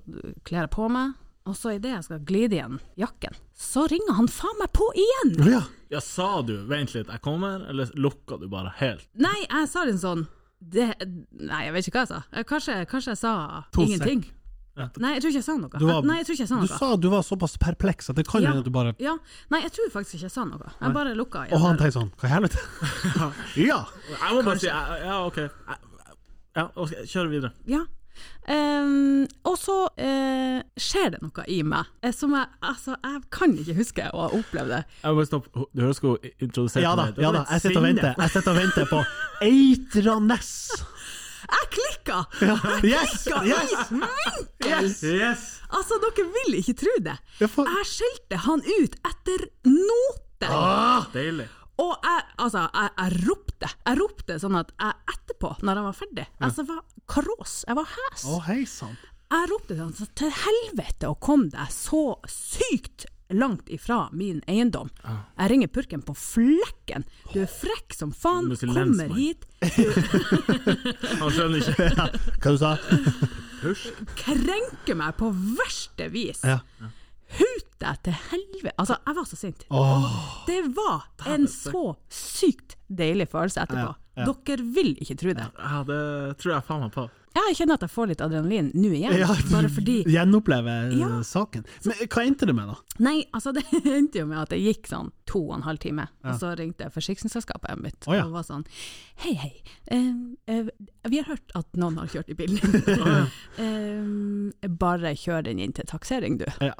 kler jeg på meg. Og så idet jeg skal glide igjen jakken, så ringer han faen meg på igjen! Å ja. Ja, sa du 'vent litt, jeg kommer', eller lukka du bare helt? Nei, jeg sa litt sånn det, Nei, jeg vet ikke hva jeg sa. Eh, Kanskje, kanskje jeg sa To sek. ingenting. Ja. Nei, jeg tror ikke jeg sa noe. Du var- nei, jeg tror ikke jeg sa Du noe. sa du var såpass perpleks at det kan Ja. hende at du bare Ja, nei, jeg tror faktisk ikke jeg sa noe. Jeg bare lukka Og igjen. han døra. tenkte sånn Hva i helvete? Ja. Jeg må bare si ja, ja, OK. Ja, Ja, ok, kjør videre. Ja. Ehm, og så eh, skjer det noe i meg eh, som jeg Altså, jeg kan ikke huske å ha opplevd det. Jeg må bare stoppe. Du hører skulle introdusere Ja da, meg. Det ja var da. litt Jeg sitter og sinne. venter. Jeg sitter og venter på Eitranes. Jeg klikka! Ja. Yes! Klikka Yes! i vinkel! Yes! Altså, dere vil ikke tro det. Ja, for- Jeg skjelte han ut etter noter. Deilig. Og jeg, altså, jeg, jeg ropte. Jeg ropte sånn at jeg etterpå, når han var ferdig, altså, jeg var karås. Jeg var hes. Å, hei sann. Jeg ropte til han så til helvete å komme deg så sykt langt ifra min eiendom. Jeg ringer purken på flekken. Du er frekk som faen, Du må si kommer lensmann. hit, Han skjønner ikke. Hva du sa krenker meg på verste vis. Ja. Hut deg til helvete. Altså, jeg var så sint. Det var en så sykt deilig følelse etterpå. Ja, ja. Dere vil ikke tro det. Ja, det tror jeg faen meg på. Jeg kjenner at jeg får litt adrenalin nå igjen, Ja. bare fordi Gjenoppleve eh, Ja. saken. Men eh, hva endte det med, da? Nei, altså det endte jo med at det gikk sånn to og en halv time, og så ringte forsikringsselskapet mitt Å ja. og var sånn Hei, hei, eh, eh, vi har hørt at noen har kjørt i bilen din. Eh, bare kjør den inn til taksering, du. Ja.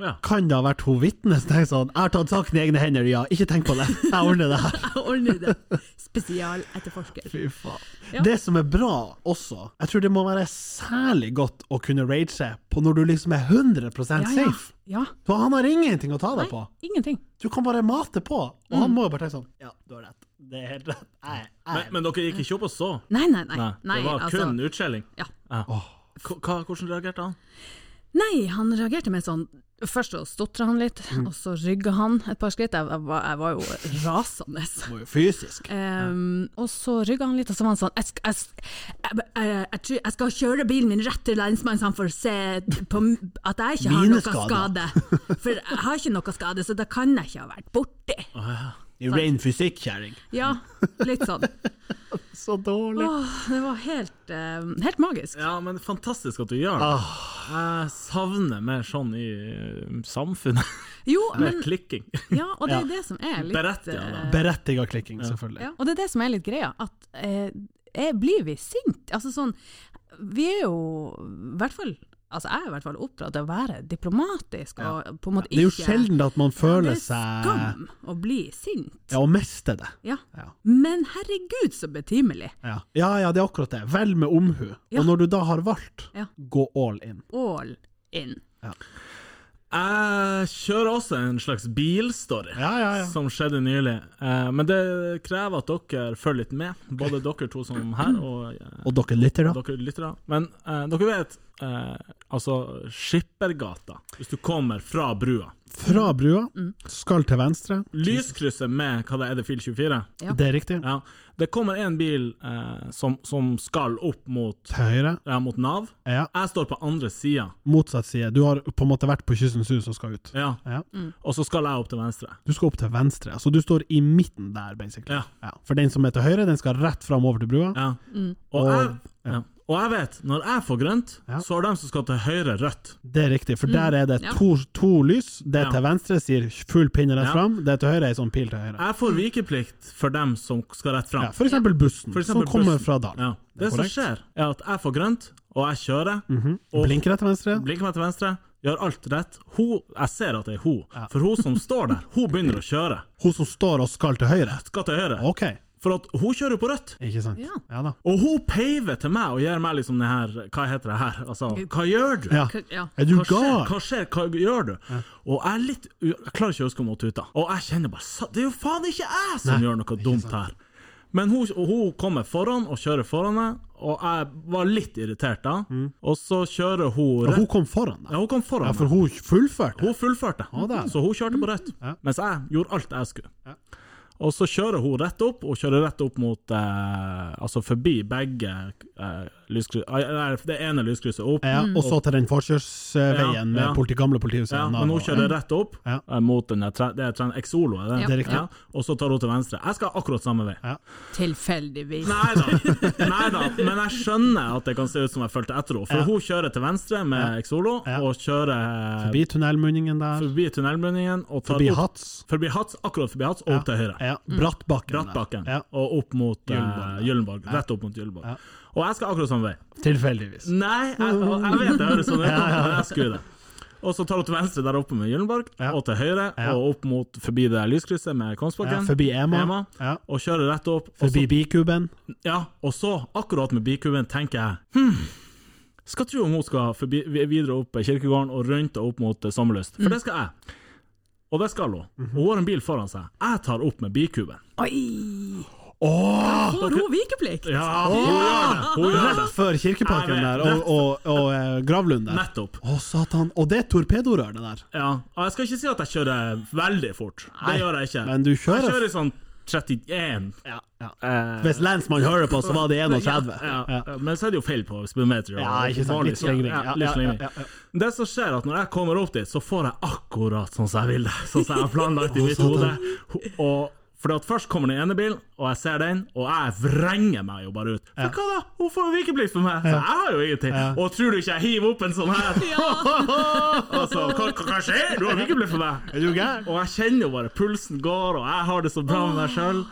Ja. Kan det ha vært hun vitne som tenkte sånn Jeg har tatt saken i egne hender, ja. Ikke tenk på det. Jeg ordner det her. Jeg ordner det. Spesialetterforsker. Fy faen. Ja. Det som er bra også, jeg tror det må være særlig godt å kunne rage på når du liksom er 100 Ja, ja. safe. ja. For han har ingenting å ta Nei, deg på. ingenting. Du kan bare mate på, og han må jo bare tenke sånn Ja, du har rett. Det er helt rett. Jeg, Men, jeg. men dere gikk ikke opp og så? Nei, nei, nei. Nei, nei det var altså, kun utskjelling? Ja. K- Hva, hvordan reagerte han? Nei, han reagerte med sånn Først så stotra han litt, og så rygga han et par skritt. Jeg, jeg, var, jeg var jo rasende. Må jo fysisk. Ehm, og så rygga han litt, og så var han sånn Jeg, sk- jeg, s- jeg, jeg, jeg, tror jeg skal kjøre bilen min rett til lensmannen, så han får se på, m- at jeg ikke har Mine noe skade. For jeg har ikke noe skade, så det kan jeg ikke ha vært borti. I ren fysikk, kjerring. Ja, litt sånn. Så dårlig. Åh, det var helt, eh, helt magisk. Ja, men fantastisk at du gjør det. Jeg savner mer sånn i eh, samfunnet. Jo, Mer men klikking. Ja, og det Ja. er det som er litt Berettiget, da. eh, Berettiga klikking, selvfølgelig. Ja, og det er det som er litt greia, at eh, eh, blir vi sint? Altså sånn, vi er jo i hvert fall Altså jeg er i hvert fall oppdratt til å være diplomatisk og på en måte Det er jo ikke sjelden at man Det føler er seg skam å bli sint. Ja, å miste det. Ja. Ja. Men herregud, så betimelig! Ja. ja, ja, det er akkurat det. Velg med omhu. Ja. Og når du da har valgt, Ja. gå all in. All in. Jeg kjører også en slags bilstory Ja, ja, ja. som skjedde nylig. Eh, Men det krever at dere følger litt med, både dere to som her og eh, Og dere lytter, da? dere lyttere. Men eh, dere vet, eh, altså Skippergata, hvis du kommer fra brua. Fra brua, skal til venstre. Lyskrysset med hva det er, Edefil 24? Ja. Det er riktig. Ja. Det kommer en bil eh, som, som skal opp mot, Til høyre. ja, mot Nav. Ja. Jeg står på andre sida, Motsatt side. Du har på en måte vært på Kyssens hus og skal ut. ja. Ja. Mm. og så skal jeg opp til venstre. Du skal opp til venstre, altså du står i midten der, basically. Ja. For den som er til høyre, den skal rett fram over til brua. Ja. Og, jeg, ja. Og jeg vet, når jeg får grønt, Ja. så har de som skal til høyre, rødt. Det er riktig, for der er det Mm. ja. to, to lys. Det Ja. til venstre sier full pinne rett Ja. fram, det til høyre er sånn pil til høyre. Jeg får vikeplikt for dem som skal rett fram. Ja, for eksempel bussen, For som eksempel kommer bussen. fra dalen. Ja. Det som Korrekt. Mhm. skjer, er at jeg får grønt, og jeg kjører. Og Blinker rett til venstre. blinker meg til venstre, gjør alt rett. Hun, jeg ser at det er hun, for hun som står der, hun begynner å kjøre. Hun som står og skal til høyre. Skal til høyre. Ok, For at hun kjører jo på rødt. ikke sant. Ja. Ja da. Og hun peiver til meg og gjør meg liksom det her Hva heter det her? Altså, hva gjør du? Ja. K- ja. Er du Hva skjer? gal? Hva skjer? Hva gjør du? Og jeg er litt u- Jeg klarer ikke å huske om hun tuta. Og jeg kjenner bare sa- Det er jo faen ikke jeg som gjør noe dumt her! Men hun, og hun kommer foran og kjører foran meg, og jeg var litt irritert da. Og så kjører Mm. Og hun rett hun kom foran deg. Ja, hun kom foran Ja, meg. for hun fullførte. Hun fullførte, da. så hun kjørte på rødt. Mens jeg gjorde alt jeg skulle. Og så kjører hun rett opp, og kjører rett opp mot eh, Altså forbi begge eh, lyskryss... Nei, det ene lyskrysset opp. Ja, Mm. og så til den Ja, forkjørsveien med ja. politi, gamle politihuset. Ja, igjen da, men hun og- kjører rett opp Ja. eh, mot den der tre, det er tre, Exolo, er det? Ja. Det er riktig. Og så tar hun til venstre. Jeg skal akkurat samme vei. Tilfeldigvis. Nei da, men jeg skjønner at det kan se ut som jeg fulgte etter henne. For Ja. hun kjører til venstre med Exolo, Ja. og kjører Forbi forbi, tunnelmunningen der, tunnelmunningen og tar forbi opp Hats. Forbi Hats, akkurat forbi Hats, og opp til høyre. Ja, Brattbakken. der. Brattbakken, Ja, eh, og opp mot eh, Gyllenborg, ja. Gyllenborg. Rett opp mot Gyllenborg. Ja. Og jeg skal akkurat samme vei. tilfeldigvis. Nei, jeg, og jeg vet det høres sånn ut, men jeg skulle det. Og så tar hun til venstre der oppe med Gyllenborg, Ja. og til høyre, Ja. og opp mot forbi det lyskrysset med Ja, Kongsbakken. forbi Ema. Ema. Ja. Og kjører rett opp. og Forbi Bikuben. så- Ja, og så, akkurat med bikuben, tenker jeg hm, skal tro om hun skal forbi, videre opp kirkegården og rundt og opp mot eh, Sommerlyst. Mm. For det skal jeg. Og det skal hun. Mhm. Og Hun har en bil foran seg. Jeg tar opp med bikuben. Oi! Åh! Får hun vikeplikt? Ja, hun gjør det! Hun gjør det. Rett før Kirkeparken Jeg vet, der, og, rett- og, og eh, Gravlund der. Nettopp. Å, satan. Og det er torpedorør, det der. Ja, og jeg skal ikke si at jeg kjører veldig fort. Det Nei, gjør jeg ikke. men du kjører- Jeg kjører sånn 31. Ja. Eh, Hvis lensmann hører på, så var det 31. ja, Ja. Men så er det jo feil på speedometer. og- Ja, ikke sant. vanlig- Litt slingring. Ja, Ja, litt ja, slingring. ja, ja, Det som skjer, er at når jeg kommer opp dit, så får jeg akkurat sånn som jeg vil det. Sånn som jeg har planlagt i mitt sånn, hode. Og fordi at Først kommer den ene bilen, og jeg ser den, og jeg vrenger meg jo bare ut. For hva da? Hun får jo vikeplikt for meg, så jeg har jo ingenting. Og tror du ikke jeg hiver opp en sånn her? og så, Altså, hva, hva- hva skjer? Du har vikeplikt for meg. Er du gæren? Og jeg kjenner jo bare pulsen går, og jeg har det så bra med meg sjøl.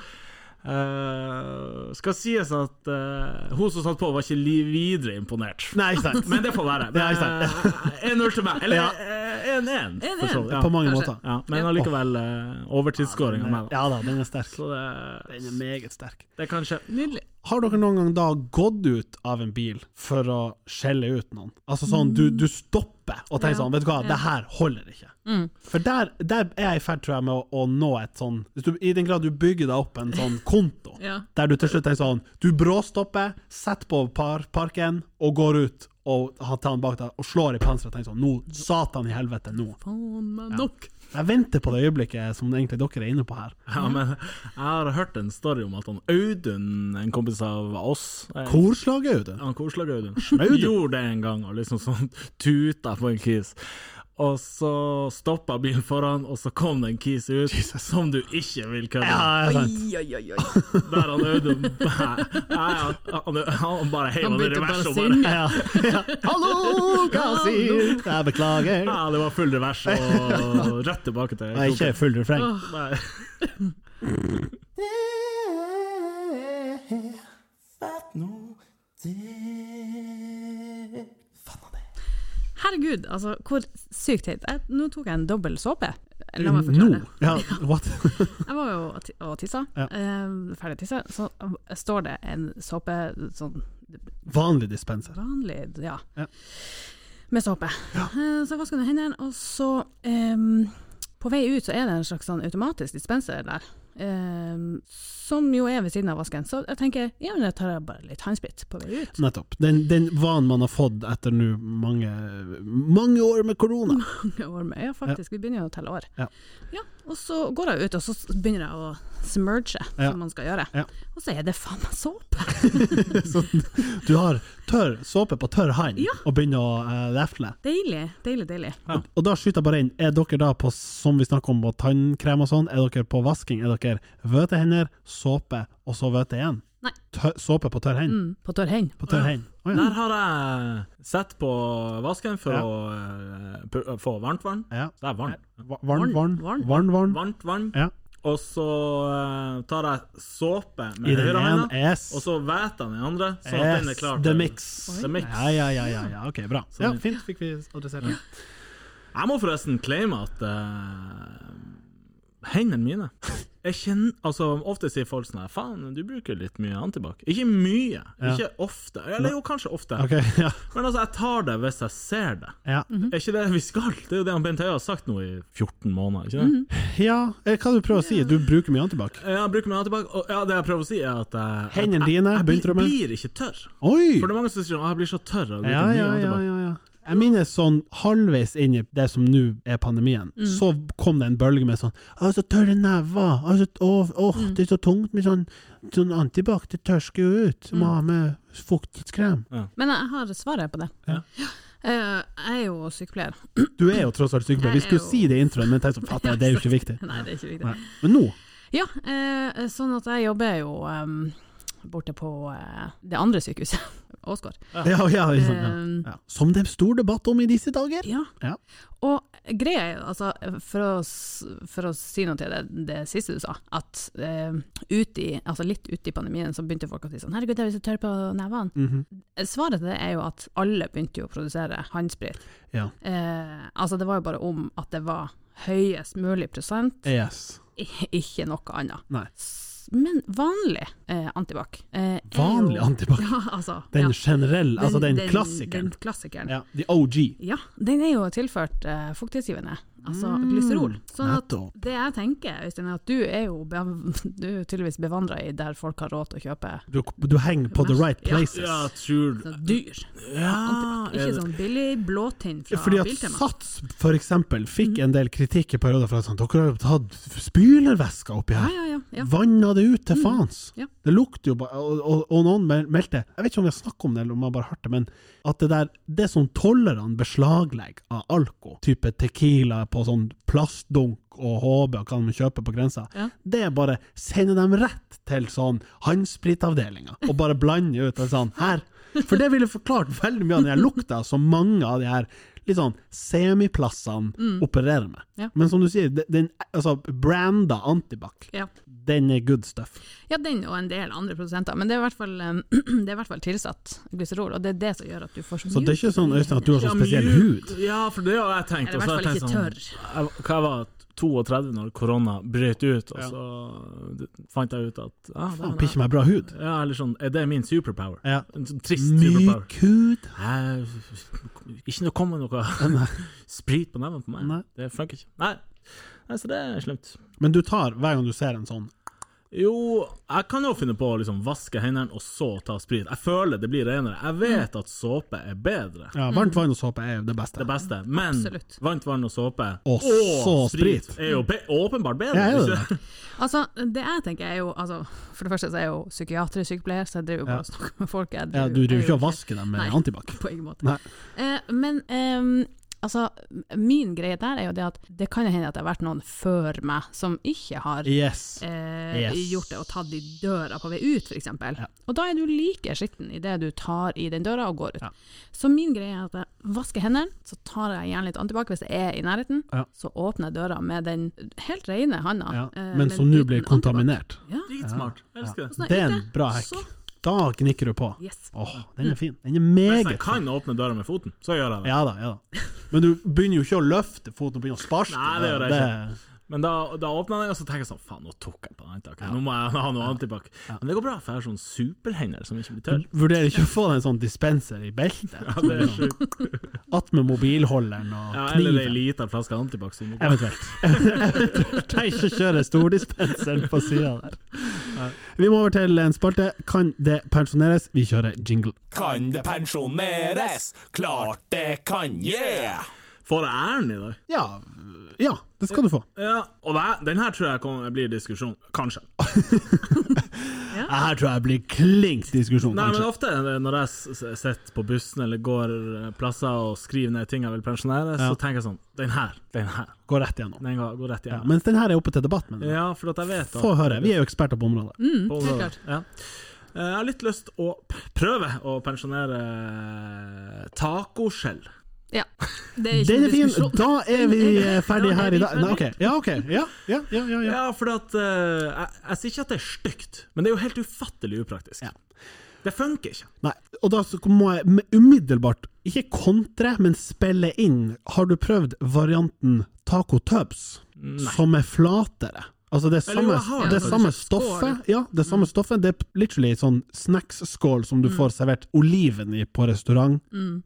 skal sies at eh, hun som satt på, var ikke li videre imponert. Nei, ikke sant. Men det får være. Ja, ikke sant. Eh, 1-0 til meg. Ja. Eller eh, 1-1, for så vidt. På Ja. mange Kanskje. måter. Ja, men allikevel uh, overtidsskåring av meg, da. Ja da, den er sterk. Så det, Den er meget sterk. det kan skje. Nydelig. Har dere noen gang da gått ut av en bil for å skjelle ut noen? Altså sånn, du, du stopper og tenker Ja. Mm. sånn, vet du hva, det her holder ikke. For der, der er jeg i ferd, tror jeg, med å, å nå et sånn, hvis du, i den grad du bygger deg opp en sånn konto, Ja. der du til slutt tenker sånn, du bråstopper, setter på par, parken, og går ut, og har tatt den bak deg, og slår i panseret, og tenker sånn, nå, satan i helvete, nå. Faen meg nok. Jeg venter på det øyeblikket som egentlig dere er inne på her. Ja, men jeg har hørt en story om at han Audun, en kompis av oss eh, Korslaget, Audun. Han korsla Gaudun. Snaudun. Gjorde det en gang, og liksom sånn tuta på en kis. Og så stoppa bilen foran, og så kom det en kis ut som du ikke vil kødde Ja, med. det er sant. Oi, oi, oi. oi. Der han Audun Nei, han, han, han bare heiv Han han i begynte bare revers og bare å synge. Ja, ja. Hallo, Kasir! Jeg beklager. Ah. ja, Det var full revers og rett tilbake til Nei, ikke full refreng. Ah, Nei. Fatt nå det Fatt nå det. Herregud, altså, hvor sykt teit. Jeg- Nå tok jeg en dobbel såpe. La meg Nå? forklare. Ja, what? Jeg var jo og ti- og tissa, Ja. eh, ferdig tissa, så eh, står det en såpe, sånn Vanlig dispenser. vanlig, ja, Ja. med såpe. Eh, Så jeg vasker under hendene, og så eh, på vei ut så er det en slags sånn automatisk dispenser der, eh, som jo er ved siden av vasken. Så jeg tenker, ja, men jeg tar bare litt handsprit på vei ut. Nettopp. Den, den vanen man har fått etter nå mange, mange år med korona. mange år med. Ja, faktisk. Vi begynner jo å telle år. Ja. Ja, og så går jeg ut, og så s- begynner jeg å smurge, Ja. som man skal gjøre. Ja. Og så er det faen meg såpe! Du har tørr såpe på tørr hand Ja. og begynner å eh, lefle. Deilig, deilig, deilig. Og, og da skyter jeg bare inn, er dere da på, som vi snakker om, på tannkrem og sånn, er dere på vasking, er dere vøte hender, såpe, og så vøte igjen? Nei. Tø- Såpe på tørr hend? Mm, på tørr hend. På tørr hend. Å ja. Der har jeg sett på vasken for Ja. å eh, pu- å få varmt vann. ja. Så det er varmt. Va- Varm, varm, Varm. varm. varm. Varmt vann. Ja. Og så eh, tar jeg såpe I med den høyre ene. hånda, Yes. og så væter jeg den i andre, sånn at den er yes. klar. The til- mix. The mix. Ja, ja, ja, ja, ja. Ok, bra. Sånn, Ja, ja. fint. Fikk vi adressert det. Jeg må forresten claime at eh, hendene mine Jeg kjenner, altså Ofte sier folk sånn her Faen, du bruker litt mye antibac. Ikke mye, ikke ofte. Eller jo, kanskje ofte. Ok, ja. Men altså, jeg tar det hvis jeg ser det. ja. Er ikke det vi skal? Det er jo det han Bent Høie har sagt nå i 14 måneder. ikke det? ja. eh, Hva du prøver å si? Du bruker mye antibac. Jeg bruker meg tilbake, og ja, det jeg prøver å si, er at jeg, Hendene jeg, dine, jeg, blir- beintrommen. blir ikke tørr. Oi! For det er mange som sier at jeg blir så tørr av å bruke Ja, ja, mye ja, antibac. ja, ja. Jeg minnes sånn halvveis inn i det som nå er pandemien, så kom det en bølge med sånn Å, så tørre never! Å, så- å, åh, det er så tungt med sånn, sånn antibac, det tørsker jo ut! Må ha med fuktighetskrem. Men jeg har svaret på det. Ja. Eh, jeg er jo sykepleier. Du er jo tross alt sykepleier, vi Jeg er skulle jo- si det i introen, men tenkte sånn, fatter jeg, det er jo ikke viktig. Nei, det er ikke viktig. Nei. Men nå Ja, eh, sånn at jeg jobber jo em, borte på eh, det andre sykehuset, Åsgård. ja, ja, ja, ja. Em. ja. Som det er stor debatt om i disse dager! Ja. Ja. Og greia er, jo, altså, for å, s- for å si noe til det, det siste du sa, at eh, ut i, altså litt ute i pandemien så begynte folk å si sånn herregud, jeg blir så tørr på nevene. Mhm. Svaret til det er jo at alle begynte jo å produsere håndsprit. Ja. Eh, altså det var jo bare om at det var høyest mulig prosent, Yes. i- ikke noe annet. Nei. S- Men vanlig eh, antibac. Eh, er jo- Vanlig antibac? Ja, altså. Den ja. generelle, altså den, klassikeren. Den klassikeren. Ja, the OG. Ja, den er jo tilført eh, fuktighetsgivende, altså Mm, glyserol. Sånn at nettopp. det jeg tenker, Øystein, er at du er jo bev- du er jo tydeligvis bevandra i der folk har råd til å kjøpe Du, du henger på the right places. Ja, tror sånn dyr. Ja, antibac. er Ikke det- sånn billig blåtinn Ah, Ja, fra fordi at Biltema. Sats for eksempel fikk en del kritikk i perioder for at sånn, dere har jo tatt spylervæska oppi Ja, her. ja, ja. ja. Mm. Vanna det ut til faens. Ja. Det lukter jo bare og, og, og noen mel- meldte Jeg vet ikke om vi har snakket om det, eller om jeg bare har hørt det, men at det der Det som tollerne beslaglegger av alko, type Tequila på sånn plastdunk og HB og hva de kjøper på grensa, Ja. det er bare sender dem rett til sånn håndspritavdelinga og bare blander ut og sånn her. For det ville forklart veldig mye av den her lukta som mange av de her litt sånn semiplassene opererer med. Mm. Ja. Men som du sier, den- den altså, branda antibac, Ja. den er good stuff. ja, den og en del andre produsenter. Men det er i hvert fall, eh, det er i hvert fall tilsatt glyserol, og det er det som gjør at du får så mye Så det er ikke sånn Øystein, at du har Ja, sånn spesiell mjuk- hud? Ja, for det har jeg tenkt. Eller i og så har hvert fall jeg tenkt ikke sånn, jeg- Hva jeg var 32 når korona brøt ut, og så eh, fant jeg ut at Sånn, ja, det er Faen, en- pikker meg bra hud. ja, eller sånn, er det min superpower? Ja. En sånn trist superpower. Myk hud. Nei, ikke noe kommer noe sprit på nevene på meg. Nei. Det funker ikke. Nei. Nei, så det er slemt. Men du tar hver gang du ser en sånn. Jo, jeg kan jo finne på å liksom vaske hendene og så ta sprit. Jeg føler det blir renere. Jeg Mm. vet at såpe er bedre. Ja, varmt vann og såpe er jo det beste. Mm. Det beste. Men Absolutt. varmt vann og såpe Og så sprit. er jo be åpenbart bedre. Ja, er det ikke det? Altså, det jeg tenker er jo altså, For det første så er jeg jo psykiatrisk sykepleier, så jeg driver jo bare og snakker med folk. Jeg Ja, du driver jeg er ikke jo og vasker dem med Nei. antibac. På ingen måte. Nei. Eh, men ehm, altså, min greie der er jo det at det kan jo hende at det har vært noen før meg som ikke har Yes. eh, Yes. gjort det og tatt i døra på vei ut, f.eks. eksempel Og da er du like skitten idet du tar i den døra og går ut. Ja. Så min greie er at jeg vasker hendene, så tar jeg gjerne litt antibac hvis jeg er i nærheten. Ja. Så åpner jeg døra med den helt rene handa. Ja. eh, Men som nå uten blir antibac. kontaminert. Dritsmart. Elsker det. Sånn, Det er en ute, bra hack. så- Da gnikker du på. Yes. Åh, den er fin. Den er Hvis meget jeg fin. kan åpne døra med foten, så gjør jeg det. Ja da, ja da. Men du begynner jo ikke å løfte foten og begynner å sparke. Nei, det gjør jeg Det- Men da, da åpner jeg den, og så tenker jeg sånn Faen, nå tok jeg på den antibac. Nå må jeg ha noe antibac. Men det går bra, for jeg har sånn superhender som ikke blir tørr. Du vurderer ikke å få deg en sånn dispenser i beltet? Ja, det er sjukt. Attmed mobilholderen og Ja, eller ei kniven? lita flaske antibac. som- Eventuelt. Eventuelt. Trenger ikke kjøre stordispenseren på sida der. Vi må over til en spalte. Kan det pensjoneres? Vi kjører jingle. Kan det pensjoneres? Klart det kan, yeah! Får jeg æren i dag? Ja, ja det skal du få. Ja, og det, den her tror jeg kommer, blir diskusjon. Kanskje. Her tror jeg blir klink diskusjon, Nei, men kanskje. ofte når jeg s- s- sitter på bussen eller går eh, plasser og skriver ned ting jeg vil pensjonere, Ja. så tenker jeg sånn Den her, den her. Går rett gjennom. Den går, går rett Ja, igjen. mens den her er oppe til debatt, men Ja, for at jeg vet at få høre. Vi er jo eksperter på området. På området. klart. Ja. Eh, Jeg har litt lyst å p- prøve å pensjonere tacoskjell. Ja. Det er ikke Den en er fin! diskusjon. Da er vi eh, ferdig Ja, her i er dag. vi Nei, ok. Ja, ok. Ja, ja, ja. ja, ja. Ja, for at, eh, jeg, jeg sier ikke at det er stygt, men det er jo helt ufattelig upraktisk. Ja. Det funker ikke. Nei. Og da så må jeg med umiddelbart, ikke kontre, men spille inn. Har du prøvd varianten taco tubs, som er flatere? Altså det er Eller jo, samme, jeg har det er det. samme Skål. stoffet, ja, det er samme stoffet, det er literally sånn snacks-skål som du får servert oliven i på restaurant,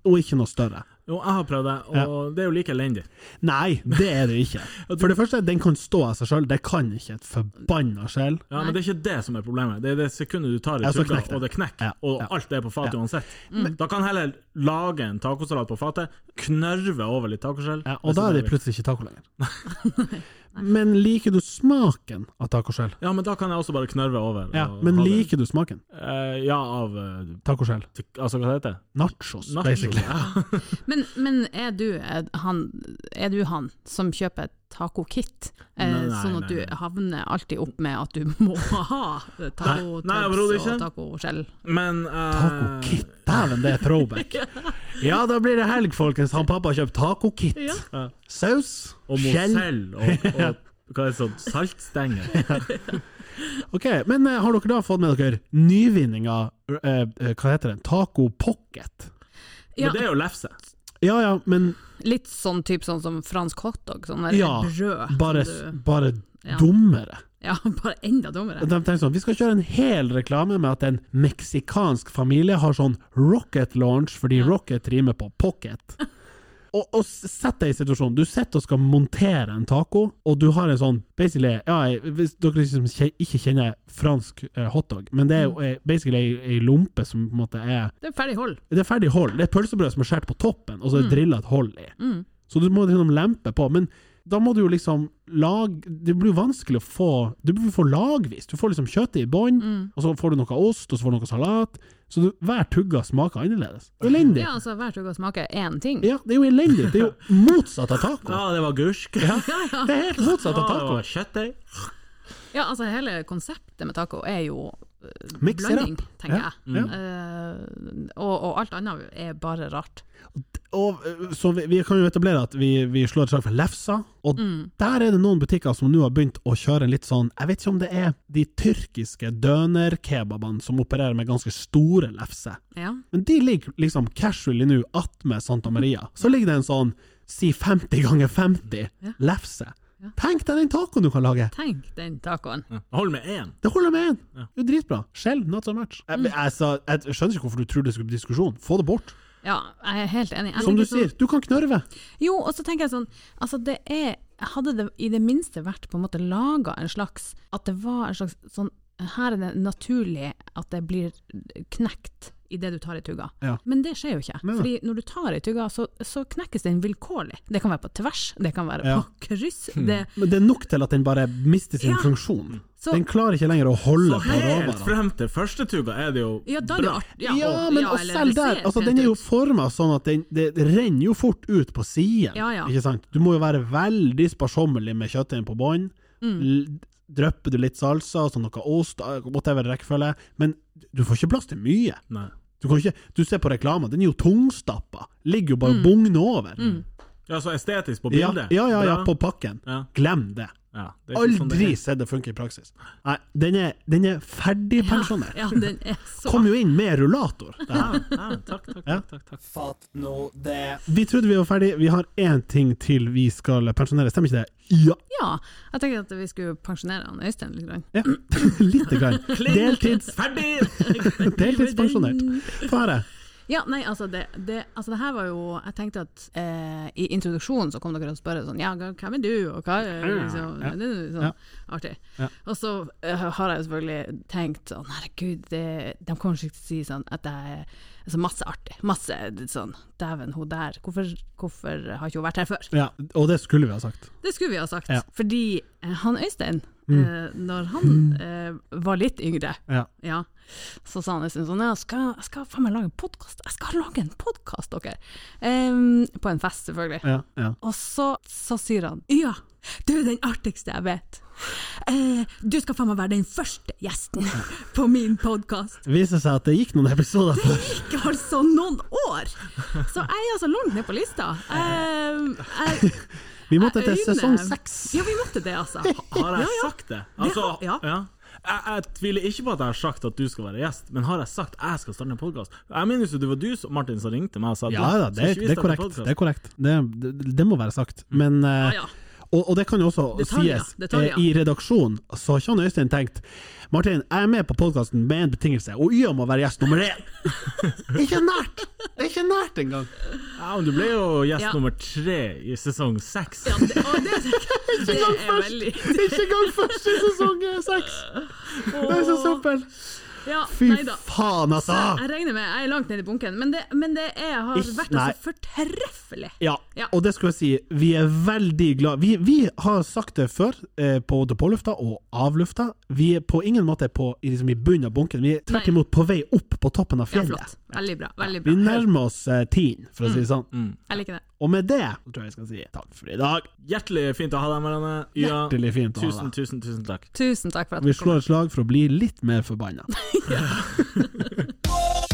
og ikke noe større. Jo, jeg har prøvd det, og det er jo like elendig. Nei, det er det ikke. For det første, den kan stå av seg sjøl, det kan ikke et forbanna sjel. Ja, Men det er ikke det som er problemet. Det er det sekundet du tar i Ja, så tugga, knekker det. og det knekker, Ja, og ja. alt er på fatet Ja. Mm. uansett. Da kan jeg heller lage en tacosalat på fatet, knørve over litt tacoskjell Ja, og da er det plutselig ikke taco lenger. Men liker du smaken av tacoskjell? Ja, men da kan jeg også bare knørve over. Ja, og men ha det. liker du smaken? Eh, ja, av eh, Tacoskjell. tik- Altså, hva heter det? Nachos, Nachos, basically. Ja. Men, men er, du, eh, han, er du han som kjøper taco-kit, eh, Nei, nei, sånn at nei, du nei. havner alltid opp med at du må ha Nei, nei, overhodet taco-tubs ikke. og taco-skjell? Men eh, Taco-kit, dæven, det er throwback. Ja, da blir det helg, folkens. Han pappa har kjøpt taco-kit. Ja. Saus, Og skjell mozell og, og hva er det sånn saltstenger. Ok, Men eh, har dere da fått med dere nyvinninga eh, eh, Hva heter den? Taco pocket? Ja, Men det er jo lefse. Ja ja, men litt sånn typ sånn som fransk hotdog, sånn der Ja, brød. bare, som du, bare Ja. dummere. ja, bare enda dummere. De tenker sånn, Vi skal kjøre en hel reklame med at en meksikansk familie har sånn rocket launch, fordi rocket rimer på pocket. Og, og s- sett deg i situasjonen. Du sitter og skal montere en taco, og du har en sånn basically, ja, jeg- Hvis dere liksom kje- ikke kjenner fransk eh, hotdog, men det er jo eh, basically ei- ei lompe som på en måte er Det er ferdig hold. det er ferdig hold. Det er pølsebrød som er skåret på toppen, og så er det drillet et hold i. Så du må liksom lempe på. Men da må du jo liksom lag... Det blir jo vanskelig å få Du blir jo få lagvis. Du får liksom kjøttet i bånn, og så får du noe ost, og så får du noe salat. Så du, hver tugga smaker annerledes. Det er Elendig. Ja, altså hver tugg å smake én ting. Ja, det er jo elendig. Det er jo motsatt av taco. Ja, Ah, det var gursk. Ja, Det er helt motsatt det av taco. var kjøttdeig. Ja, altså hele konseptet med taco er jo eh, Mix it blanding, up. tenker Ja, jeg. Eh, og, og alt annet er bare rart. Og, eh, så vi, vi kan jo etablere at vi, vi slår et slag for lefsa, og Mm. der er det noen butikker som nå har begynt å kjøre en litt sånn Jeg vet ikke om det er de tyrkiske dønerkebabene som opererer med ganske store lefser, Ja. men de ligger liksom casually nå attmed Santa Maria. Så ligger det en sånn si 50 ganger 50 Ja. lefse. Tenk deg den tacoen du kan lage! Tenk den tacoen. Hold med én. Det holder med én! Det er jo dritbra. Skjell, not so much. Mm. Jeg, jeg, altså, jeg skjønner ikke hvorfor du tror det skulle bli diskusjon. Få det bort. Ja, jeg er helt enig. Jeg Som du tenker sånn- sier, du kan knørve. Jo, og så tenker jeg sånn, altså det er, hadde det i det minste vært på en måte laget en slags, at det var en slags sånn, her er det naturlig at det blir knekt i det du tar i tugga. Ja. Men det skjer jo ikke. Nei, nei. Fordi når du tar i tugga, så, så knekkes den vilkårlig. Det kan være på tvers, det kan være Ja. på kryss. Det, Men det er nok til at den bare mister sin Ja. funksjon. Så- den klarer ikke lenger å holde Og på helt råvarene. frem til førstetuga er det jo ja, da er det bra. jo art- Ja, og- men ja, og eller selv det der, ser altså pent den er jo ut. forma sånn at den, det renner jo fort ut på siden, Ja, ja. ikke sant? Du må jo være veldig sparsommelig med kjøttdeigen på bånn. Mm. L- Drypper du litt salsa, og så noe ost, eh, whatever rekkefølge, men du får ikke plass til mye. Nei. Du, kan ikke, du ser på reklama, den er jo tungstappa. Ligger jo bare Mm. og bugner over. Ja, så estetisk på Ja, bildet. ja, ja, ja, Bra. på pakken. Ja. Glem det. Ja, det er ikke sånn det Aldri er. sett det funke i praksis. Nei, den er, den er ferdigpensjonert. Ja, den er så... sånn Kom jo inn med rullator. Det her. Ja, ja, takk, takk, Ja. takk, takk, takk. Fatt nå det. Vi trodde vi var ferdig. Vi har én ting til vi skal pensjonere, stemmer ikke det? Ja. Ja, jeg tenker at vi skulle pensjonere han Øystein litt grann. ja. Lite grann. Deltids, Ferdig! deltidspensjonert. Få høre. Ja, nei, altså det, det, altså det her var jo Jeg tenkte at eh, i introduksjonen så kom dere og spørre sånn Ja, hvem er du, og hva er liksom, Ja. Det er jo sånn Ja. artig. Ja. Og så eh, har jeg jo selvfølgelig tenkt sånn Herregud, det, de kommer ikke til å si sånn at jeg er altså masse artig. Masse sånn Dæven, hun der. Hvorfor, hvorfor har ikke hun vært her før? Ja, og det skulle vi ha sagt. Det skulle vi ha sagt. Ja. Mm. Fordi eh, han Øystein, eh, når han eh, var litt yngre Ja. ja. Så sa han nesten sånn ja, skal, jeg skal faen meg lage en podkast. Jeg skal lage en podkast, dere! Ehm, på en fest, selvfølgelig. Ja, ja. Og så, så sier han ja, Du er den artigste jeg vet. Eh, du skal faen meg være den første gjesten på min podkast. Viser seg at det gikk noen episoder før. Ikke altså noen år! Så jeg er altså langt ned på lista. Um, jeg, Vi måtte til Øyne. sesong seks. ja, vi måtte det, altså. Har jeg sagt det? Altså, har- ja. Jeg, jeg tviler ikke på at jeg har sagt at du skal være gjest, men har jeg sagt at jeg skal starte en podkast? Jeg minnes jo det var du, som- Martin, som ringte meg og sa at Ja da, skal det, ikke vi det er starte korrekt. podcast? Det, er korrekt. Det, det, det må være sagt. Men eh, Ah, Ja, ja. og, og det kan jo også Detaljer, sies, detaljer. eh, i redaksjonen så har ikke han Øystein tenkt Martin, jeg er med på podkasten med en betingelse, og YA må være gjest nummer én! ikke nært! Det er ikke nært engang! Ja, men du ble jo gjest Ja. nummer tre i sesong seks. Ja, det, å, det, det er veldig Ikke engang første sesong er seks! Det er så søppel! ja, Fy nei da. faen, altså! Jeg regner med jeg er langt nede i bunken, men det, men det er, har Ikke- vært nei. altså fortreffelig. Ja, Ja. og det skulle jeg si, vi er veldig glad Vi, vi har sagt det før, eh, både på lufta og av lufta. Vi er på ingen måte på, i liksom, i bunnen av bunken, vi er tvert Nei. imot på vei opp på toppen av Ja, fjellet. flott. Mm. Veldig bra. veldig Vi bra. nærmer oss eh, tiden, for å si det sånn. Mm. Jeg liker det. Og med det så tror jeg jeg skal si takk for i dag. Hjertelig fint å ha deg, Marianne. Ja, Hjertelig fint å ha tusen, deg. tusen, tusen takk. Tusen takk for at Vi du kom. slår et slag for å bli litt mer forbanna. Wow!